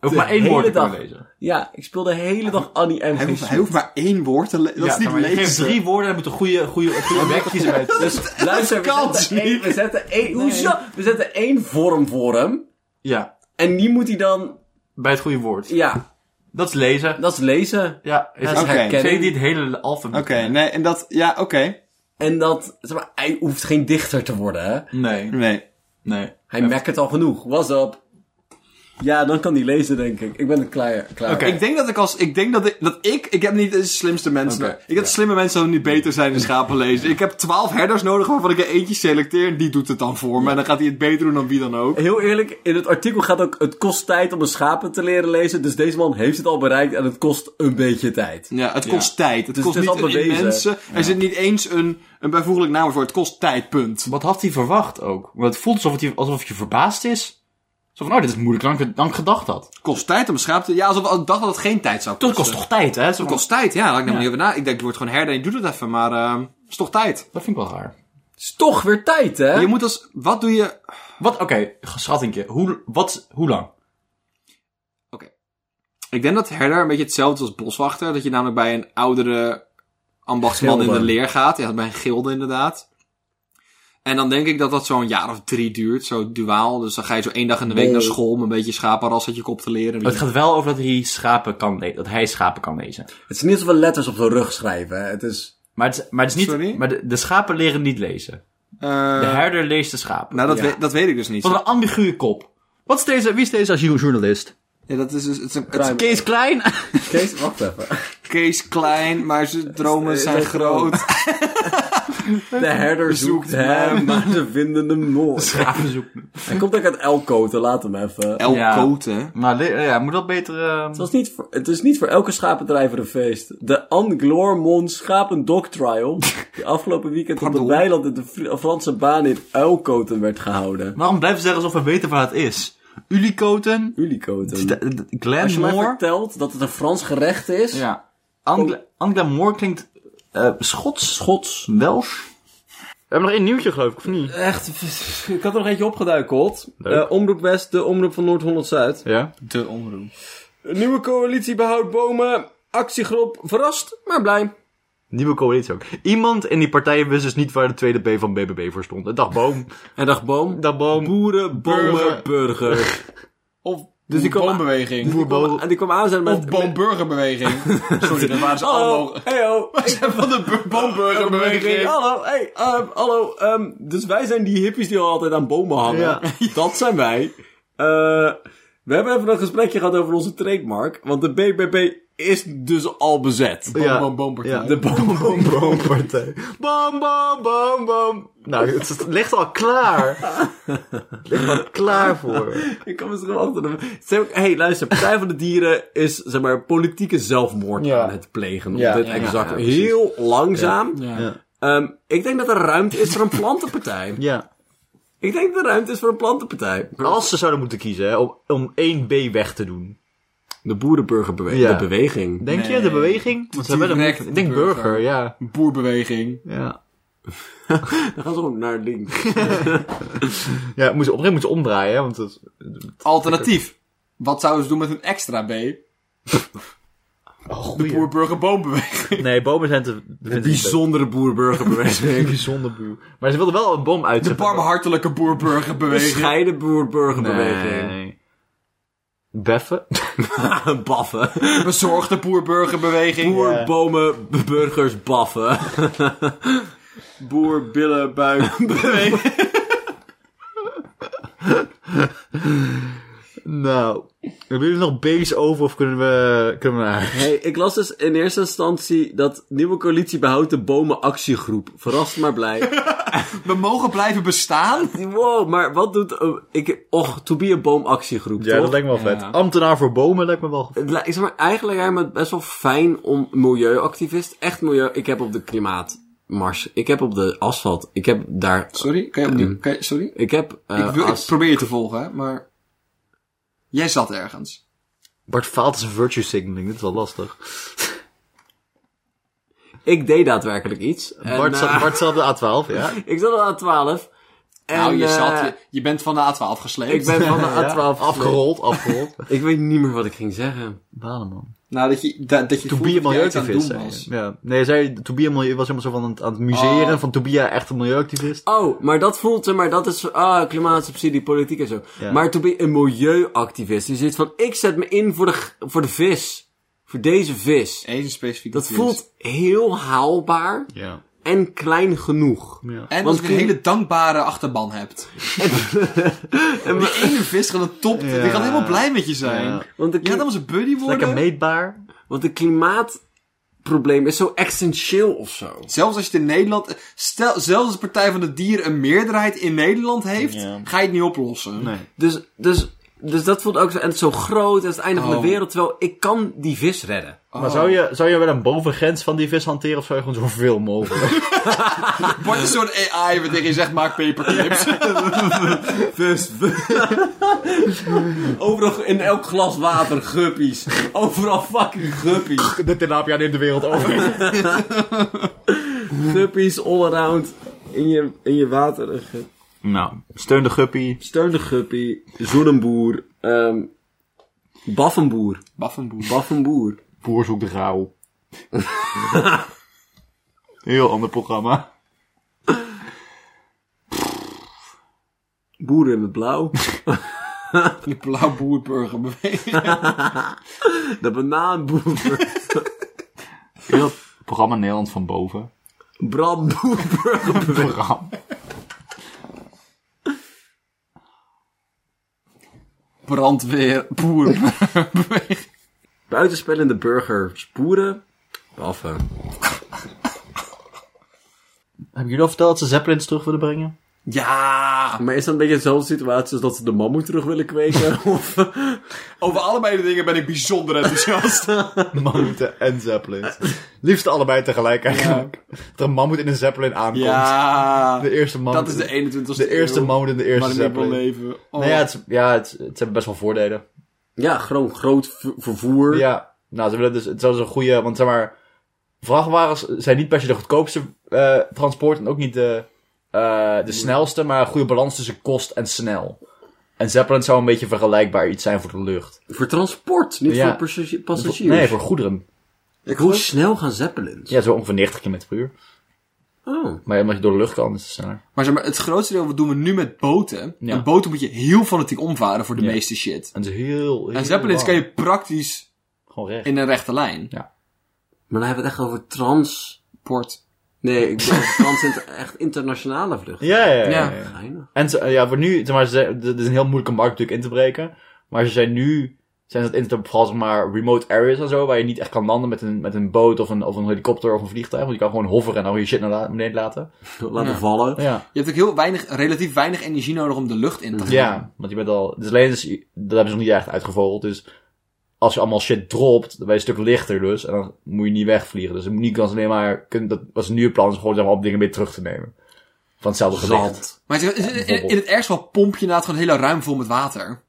Speaker 2: Ook maar één
Speaker 4: hele
Speaker 2: woord kunnen
Speaker 4: dag.
Speaker 2: lezen.
Speaker 4: ja, ik speel de hele dag Annie M.
Speaker 3: Hij
Speaker 4: G.
Speaker 3: hoeft, hij hoeft maar één woord te lezen. Dat is
Speaker 2: Ja,
Speaker 3: niet
Speaker 2: maar je geeft
Speaker 3: lezen.
Speaker 2: drie woorden en moet een goede, goede, een goede weg kiezen bij het.
Speaker 4: Dus luister, we
Speaker 3: kan
Speaker 4: zetten,
Speaker 3: niet.
Speaker 4: één, we, zetten één, hoezo? we zetten één vorm voor hem.
Speaker 2: Ja,
Speaker 4: En die moet hij dan,
Speaker 2: bij het goede woord.
Speaker 4: ja,
Speaker 2: Dat is lezen.
Speaker 4: dat is lezen.
Speaker 2: Ja, is
Speaker 4: Dat is
Speaker 3: Oké.
Speaker 4: herkennen.
Speaker 2: Zeker niet het hele alfabet.
Speaker 3: Oké, nee, en dat... Ja, oké.
Speaker 4: En dat, zeg maar, hij hoeft geen dichter te worden, hè.
Speaker 2: Nee,
Speaker 3: Nee.
Speaker 2: nee.
Speaker 4: Hij mekkert al genoeg. Was op. Ja, dan kan hij lezen, denk ik. Ik ben er klaar. klaar.
Speaker 3: Ik denk dat ik als... Ik denk dat ik... Dat ik, ik heb niet de slimste mensen. Ik heb slimme mensen die nu beter zijn in schapen lezen. Ik heb twaalf herders nodig waarvan ik er eentje selecteer. En die doet het dan voor me. En dan gaat hij het beter doen dan wie dan ook.
Speaker 4: Heel eerlijk, in het artikel gaat ook... Het kost tijd om een schapen te leren lezen. Dus deze man heeft het al bereikt en het kost een beetje tijd.
Speaker 3: Ja, het kost tijd. Het
Speaker 4: Dus
Speaker 3: kost
Speaker 4: het is
Speaker 3: niet
Speaker 4: al
Speaker 3: een
Speaker 4: bewezen.
Speaker 3: immense... Er zit niet eens een, een bijvoeglijk naam voor. Het kost tijd, punt.
Speaker 2: Wat had hij verwacht ook? Want het voelt alsof, het, alsof je verbaasd is. Zo van, oh, dit is moeilijker dan, ik- dan ik gedacht had. Dus,
Speaker 3: Het kost tijd om een schaap te... Ja, alsof ik dacht dat het geen tijd zou
Speaker 2: Dat
Speaker 3: kosten.
Speaker 2: kost toch tijd, hè? Zo
Speaker 3: Het
Speaker 2: van,
Speaker 3: kost tijd, ja. Laat ik nou
Speaker 2: Ja.
Speaker 3: niet over na. Ik denk, je wordt gewoon herder en je doet het even. Maar ehm het is toch tijd.
Speaker 2: Dat vind ik wel raar.
Speaker 4: is toch weer tijd, hè?
Speaker 3: Je moet als... Wat doe je...
Speaker 2: Wat, oké, schattingje. Hoe, wat, hoe lang?
Speaker 3: Ik denk dat herder een beetje hetzelfde is als boswachter. Dat je namelijk bij een oudere ambachtsman
Speaker 4: Gilde.
Speaker 3: in de leer gaat. Ja, bij een gilde inderdaad. En dan denk ik dat dat zo'n jaar of drie duurt. Zo duaal. Dus dan ga je zo één dag in de week
Speaker 4: Bol.
Speaker 3: naar school om een beetje schapenras uit je kop te leren.
Speaker 2: Het gaat wel over dat hij schapen kan lezen. Dat hij schapen kan lezen.
Speaker 4: Het is niet alsof we letters op de rug schrijven. hè. Het is...
Speaker 2: Maar het, is- maar het is niet...
Speaker 3: Sorry?
Speaker 2: Maar de, de schapen leren niet lezen.
Speaker 3: Eh,
Speaker 2: De herder leest de schapen.
Speaker 3: nou, dat,
Speaker 4: Ja.
Speaker 3: weet, dat weet ik dus niet.
Speaker 2: Wat een ambiguë kop. Wat is deze, wie is deze asieljournalist?
Speaker 3: Ja, dat is dus, het is een, het is
Speaker 4: Ruim.
Speaker 3: Kees,
Speaker 2: Klein?
Speaker 4: Kees, wacht even.
Speaker 3: Kees klein, maar zijn dromen zijn
Speaker 4: zijn
Speaker 3: groot.
Speaker 4: De herder zoekt hem, maar ze vinden hem nooit.
Speaker 2: Schapen zoeken.
Speaker 4: Hij komt ook uit Elkoten, laat hem even.
Speaker 3: El
Speaker 2: Ja.
Speaker 3: Koten.
Speaker 2: Maar le- ja, moet dat beter... eh,
Speaker 4: Het, was niet voor, het is niet voor elke schapendrijver een feest. De Anglormon Schapendog Trial, die afgelopen weekend op het weiland in de Fri- Franse baan in Uilkoten werd gehouden.
Speaker 2: Waarom blijven ze zeggen alsof we weten waar het is? Ulikoten?
Speaker 4: Ulikoten. Als je mij
Speaker 2: Glenmore?
Speaker 4: vertelt dat het een Frans gerecht is,
Speaker 2: Ja. Angla, Moore klinkt eh, Schots. Schots. Welsh.
Speaker 11: We hebben nog één nieuwtje, geloof ik, of niet?
Speaker 4: echt, ik had er nog eentje opgeduikeld. Eh, omroep West, de omroep van Noord-Holland-Zuid.
Speaker 11: Ja.
Speaker 4: Een Nieuwe coalitie behoudt bomen, actiegroep, verrast, maar blij.
Speaker 11: Nieuwe coalitie ook. Iemand in die partij wist dus niet waar de tweede B van BBB voor stond. Dag boom.
Speaker 4: En dacht boom,
Speaker 11: Dag boom.
Speaker 4: boeren, bomen, burger.
Speaker 5: Of
Speaker 4: Dus die kwam
Speaker 5: boombeweging.
Speaker 11: Boerbo.
Speaker 4: En die kwam aanzetten met...
Speaker 5: Of boomburgerbeweging. Sorry, dat
Speaker 3: Oh.
Speaker 5: waren ze allemaal...
Speaker 4: Hallo, heyo,
Speaker 5: Van de boomburgerbeweging.
Speaker 4: Hallo, hey, ehm, hallo. ehm, dus wij zijn die hippies die al altijd aan bomen hangen. Dat zijn wij. Eh, we hebben even een gesprekje gehad over onze trademark. Want de BBB is dus al bezet.
Speaker 11: Ja.
Speaker 5: Boom, boom, boom.
Speaker 11: Ja, de boom, boom, boom partij. Boom, boom, boom, boom. Nou, het is- het ligt al klaar. Het ligt al klaar voor.
Speaker 4: Ik kan me zo achter de... Ze hebben ook- hey, luister. Partij van de Dieren is, zeg maar, politieke zelfmoord aan het plegen.
Speaker 11: Ja.
Speaker 4: Op dit
Speaker 11: Ja,
Speaker 4: exact. Heel langzaam.
Speaker 11: Ja.
Speaker 4: Ehm, ik denk dat er ruimte is voor een plantenpartij.
Speaker 11: Ja.
Speaker 4: Ik denk dat er ruimte is voor een plantenpartij.
Speaker 11: Als ze zouden moeten kiezen hè, om, om één B weg te doen.
Speaker 4: De boerenburgerbeweging.
Speaker 2: Ja.
Speaker 4: De beweging.
Speaker 2: Denk je? De beweging? Want ze hebben
Speaker 3: Direct
Speaker 2: een... Ik denk
Speaker 3: burger.
Speaker 2: burger, ja.
Speaker 3: Boerbeweging.
Speaker 2: Ja,
Speaker 4: Dan gaan ze ook naar links.
Speaker 2: ja moeten ze op een gegeven moment moeten ze omdraaien, hè, want het...
Speaker 3: Alternatief. Wat zouden ze doen met een extra B? Oh, de boerburgerboombeweging.
Speaker 2: Nee, bomen zijn te... De
Speaker 4: Bijzondere boerburgerbeweging.
Speaker 2: bijzonder boer. Maar ze wilden wel een boom
Speaker 3: De
Speaker 2: uitzetten.
Speaker 3: barmhartelijke boerburgerbeweging.
Speaker 4: Gescheiden boerburgerbeweging.
Speaker 2: Nee. Beffen?
Speaker 4: baffen.
Speaker 3: Bezorgde boerburgerbeweging.
Speaker 4: Boerbomen, b- burgers, baffen.
Speaker 3: Boerbillenbuikbeweging.
Speaker 2: Nou, hebben jullie nog bees over of kunnen we, kunnen we naar huis?
Speaker 4: Hey, ik las dus in eerste instantie dat nieuwe coalitie behoudt de bomenactiegroep. Verrast maar blij.
Speaker 3: We mogen blijven bestaan.
Speaker 4: wow, maar wat doet... eh, ik, och, to be a boomactiegroep,
Speaker 2: Ja,
Speaker 4: toch?
Speaker 2: dat lijkt me wel vet. Ambtenaar voor bomen lijkt me wel
Speaker 4: Het li- is maar eigenlijk lijkt me het best wel fijn om milieuactivist, echt milieu... Ik heb op de klimaatmars, ik heb op de asfalt, ik heb daar...
Speaker 3: Sorry, kan je opnieuw? Kan je- sorry?
Speaker 4: Ik heb... Mm. eh,
Speaker 3: ik, wil, ik
Speaker 4: as-
Speaker 3: probeer je te volgen, hè, maar... Jij zat ergens.
Speaker 2: Bart faalt zijn virtue signaling, dit is wel lastig.
Speaker 4: ik deed daadwerkelijk iets. En,
Speaker 2: Bart,
Speaker 4: eh,
Speaker 2: zat, Bart zat op de A12, ja.
Speaker 4: Ik zat al aan 12. En,
Speaker 3: nou, je,
Speaker 4: eh,
Speaker 3: zat, je, je bent van de A12 gesleept.
Speaker 4: Ik ben van de A12 afgerond.
Speaker 2: Afgerold, afgerold.
Speaker 4: Ik weet niet meer wat ik ging zeggen.
Speaker 2: Banen, man.
Speaker 3: Nou, dat je, dat, dat je
Speaker 2: To
Speaker 3: voelt
Speaker 2: be a
Speaker 3: dat jij iets aan het
Speaker 2: milieuactivist,
Speaker 3: doen
Speaker 2: zei
Speaker 3: was.
Speaker 2: je. Ja. Nee, zei, to be a milieu was helemaal zo van aan het, aan het museren
Speaker 3: Oh.
Speaker 2: van to be a echt een milieuactivist.
Speaker 4: Oh, maar dat voelt, zeg maar, dat is, ah, klimaatsubsidie, politiek en zo.
Speaker 2: Ja.
Speaker 4: Maar to be een milieuactivist, die zit van, ik zet me in voor de, g- voor de vis. Voor deze vis.
Speaker 3: Eén specifiek.
Speaker 4: Dat voelt heel haalbaar
Speaker 2: Ja.
Speaker 4: en klein genoeg.
Speaker 3: En
Speaker 4: Want
Speaker 3: als je een
Speaker 4: kun-
Speaker 3: hele dankbare achterban hebt. en die ene vis gaat het top. Die gaat helemaal blij met je zijn.
Speaker 2: Ja.
Speaker 4: Want de,
Speaker 3: Je gaat
Speaker 4: kli-
Speaker 3: helemaal zijn buddy worden.
Speaker 2: Lekker meetbaar.
Speaker 4: want de klimaatprobleem is zo essentieel of zo.
Speaker 3: Zelfs als je het in Nederland... Stel, zelfs als de Partij van de Dieren een meerderheid in Nederland heeft...
Speaker 2: Ja.
Speaker 3: ga je het niet oplossen.
Speaker 4: Dus, dus, dus dat voelt ook zo, en het is zo groot, en het is het einde van
Speaker 3: Oh.
Speaker 4: de wereld, terwijl ik kan die vis redden.
Speaker 2: Maar zou je, zou je wel een bovengrens van die vis hanteren of zou je gewoon zoveel mogelijk?
Speaker 3: Wordt een soort AI wat tegen je zegt, maak paperclips.
Speaker 4: Overal in elk glas water guppies. Overal fucking guppies.
Speaker 2: de tilapia neemt de wereld over.
Speaker 4: Guppies all around. In je, in je water. een gup.
Speaker 12: Nou, steun de guppy.
Speaker 4: Steun de guppy. Zoen een boer. ehm, baf een boer.
Speaker 3: Baffenboer.
Speaker 4: Baf een boer.
Speaker 12: Boer zoekt de rauw. Heel ander programma.
Speaker 4: Boeren met blauw.
Speaker 3: De blauwboerburgerbeweging.
Speaker 4: De banaanboer.
Speaker 12: Heel dat programma Nederland van boven.
Speaker 4: Brandboer.
Speaker 12: Bram.
Speaker 3: Brandweer. Boer.
Speaker 4: Buitenspellende burgers. Dus Boeren. Baffen.
Speaker 2: Hebben jullie al verteld dat ze zeppelins terug willen brengen?
Speaker 3: Ja.
Speaker 4: Maar is dat een beetje dezelfde situatie als dat ze de mammoet terug willen kweken? of...
Speaker 3: Over allebei de dingen ben ik bijzonder enthousiast.
Speaker 2: Mammoeten en zeppelins. Liefst allebei tegelijk eigenlijk. Dat een mammoet in een zeppelin aankomt.
Speaker 3: ja.
Speaker 2: De eerste mammoet.
Speaker 3: Dat is de 21ste
Speaker 2: de eerste
Speaker 3: eeuw,
Speaker 2: mammoet in de eerste
Speaker 3: Maar niet wil
Speaker 2: zeppelin.
Speaker 3: leven. Oh.
Speaker 2: Nee, Nou ja, het, is- ja het, het hebben best wel voordelen.
Speaker 4: Ja, gewoon groot v- vervoer.
Speaker 2: Ja, nou, ze willen dus, het is wel eens een goede, want zeg maar, vrachtwagens zijn niet per se de goedkoopste eh, transport en ook niet de, eh, de snelste, maar een goede balans tussen kost en snel. En Zeppelin zou een beetje vergelijkbaar iets zijn voor de lucht.
Speaker 4: Voor transport, niet
Speaker 2: Ja.
Speaker 4: voor passagi- passagiers.
Speaker 2: Nee, voor goederen.
Speaker 4: Hoe snel gaan zeppelins?
Speaker 2: Ja, zo ongeveer 90 km per uur.
Speaker 4: Oh.
Speaker 2: Maar omdat je door de lucht kan, is het sneller.
Speaker 3: Maar, zeg maar het grootste deel wat doen we nu met boten.
Speaker 2: Ja.
Speaker 3: En boten moet je heel fanatiek omvaren voor de
Speaker 2: Ja.
Speaker 3: meeste shit.
Speaker 2: En het is heel, heel
Speaker 3: En zeppelins
Speaker 2: lang.
Speaker 3: kan je praktisch
Speaker 2: Gewoon recht.
Speaker 3: in een rechte lijn.
Speaker 4: Maar dan hebben we het echt over trans...
Speaker 3: Port.
Speaker 4: Nee, ik bedoel over trans inter- echt internationale vluchten.
Speaker 2: Ja, ja, ja.
Speaker 3: Ja.
Speaker 2: ja, ja.
Speaker 4: Geinig.
Speaker 2: En ze- ja, voor nu, zeg maar, ze- dit is een heel moeilijke markt natuurlijk in te breken. Maar ze zijn nu, zijn dat inter, vooral zeg maar remote areas en zo, waar je niet echt kan landen met een, met een boot of een, of een helikopter of een vliegtuig. Want je kan gewoon hoveren en al je shit naar la- beneden laten.
Speaker 4: Laten vallen.
Speaker 2: Ja.
Speaker 3: Je hebt ook heel weinig, relatief weinig energie nodig om de lucht in te gaan.
Speaker 2: Ja, want je bent al, dus alleen is, dat hebben ze nog niet echt uitgevogeld. Dus als je allemaal shit dropt, dan ben je een stuk lichter dus. En dan moet je niet wegvliegen. Dus je moet niet kan ze alleen maar, kun- dat was nu het plan, is gewoon zeg maar op dingen weer terug te nemen. Van hetzelfde gewicht.
Speaker 4: Zand.
Speaker 3: Maar het is- in, in het ergste geval pomp je inderdaad gewoon heel ruim vol met water.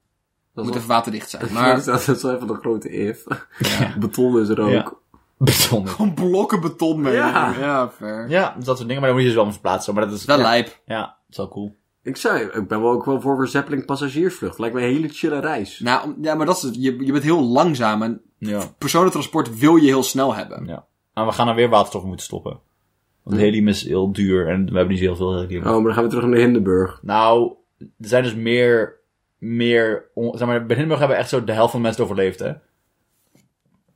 Speaker 3: moet even waterdicht zijn.
Speaker 13: Maar...
Speaker 3: Maar
Speaker 13: Dat is wel even een grote if. Beton is rook.
Speaker 2: Ja. Beton.
Speaker 3: gewoon blokken beton mee.
Speaker 13: Ja.
Speaker 3: ja fair.
Speaker 2: Ja, dat soort dingen. Maar dan moet je ze wel van verplaatsen. Maar dat is
Speaker 3: Wel
Speaker 2: ja.
Speaker 3: lijp.
Speaker 2: Ja, dat is wel cool.
Speaker 13: Ik, zei, ik ben wel ook wel voor een Zeppelin passagiersvlucht. Lijkt me een hele chille reis.
Speaker 3: Nou, om- ja, maar dat is, het. je, je bent heel langzaam en
Speaker 2: Ja.
Speaker 3: personentransport wil je heel snel hebben.
Speaker 2: Maar we gaan er weer waterstof moeten stoppen. Want helium is heel duur en we hebben niet zo heel veel helium.
Speaker 13: Oh, maar dan gaan we terug naar Hindenburg.
Speaker 2: Nou, er zijn dus meer. meer on- zeg maar, bij Hindenburg hebben echt zo de helft van de mensen het overleefd, hè?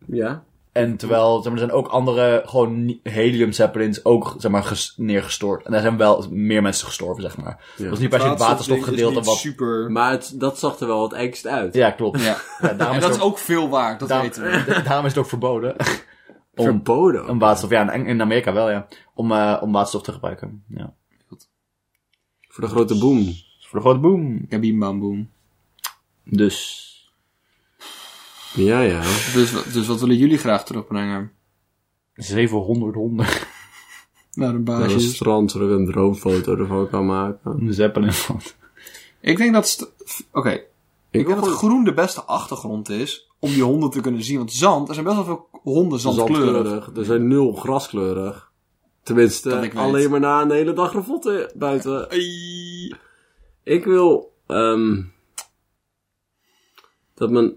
Speaker 13: Ja.
Speaker 2: En terwijl zeg maar, er zijn ook andere gewoon ni- helium zeppelins ook zeg maar, ges- neergestort. En daar zijn wel meer mensen gestorven, zeg maar. Dat is niet per se het waterstofgedeelte wat.
Speaker 3: Super.
Speaker 13: Maar het, dat zag er wel het engst uit.
Speaker 2: Ja, klopt.
Speaker 3: Ja.
Speaker 2: Ja, daarom,
Speaker 3: En
Speaker 2: is
Speaker 3: dat
Speaker 2: het
Speaker 3: is
Speaker 2: ook,
Speaker 3: ook veel waard, dat
Speaker 2: daarom-
Speaker 3: weten we.
Speaker 2: daarom is het ook verboden. om,
Speaker 13: Verboden.
Speaker 2: om waterstof, ja, in, in Amerika wel, ja. Om, eh, om waterstof te gebruiken. Ja. Dus
Speaker 13: Voor de grote boom.
Speaker 2: Voor de grote boom.
Speaker 3: Kabim bam boom.
Speaker 2: Dus.
Speaker 13: Ja, ja.
Speaker 3: Dus, wat- dus wat willen jullie graag terugbrengen?
Speaker 2: 700 honden.
Speaker 3: Naar een
Speaker 13: Naar een
Speaker 3: basis.
Speaker 13: strand zodat ik een droomfoto ervan kan maken.
Speaker 2: Een zeppelin van.
Speaker 3: Ik denk dat... st- Oké. Ik,
Speaker 13: wil
Speaker 3: denk dat
Speaker 13: gewoon-
Speaker 3: groen de beste achtergrond is om die honden te kunnen zien. Want zand, er zijn best wel veel honden zandkleurig.
Speaker 13: zandkleurig. Er zijn nul graskleurig. Tenminste,
Speaker 3: Dat ik weet.
Speaker 13: alleen maar na een hele dag revotten buiten. Ik wil ehm, dat, mijn,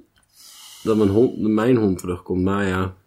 Speaker 13: dat mijn, hond, mijn hond terugkomt. Nou ja,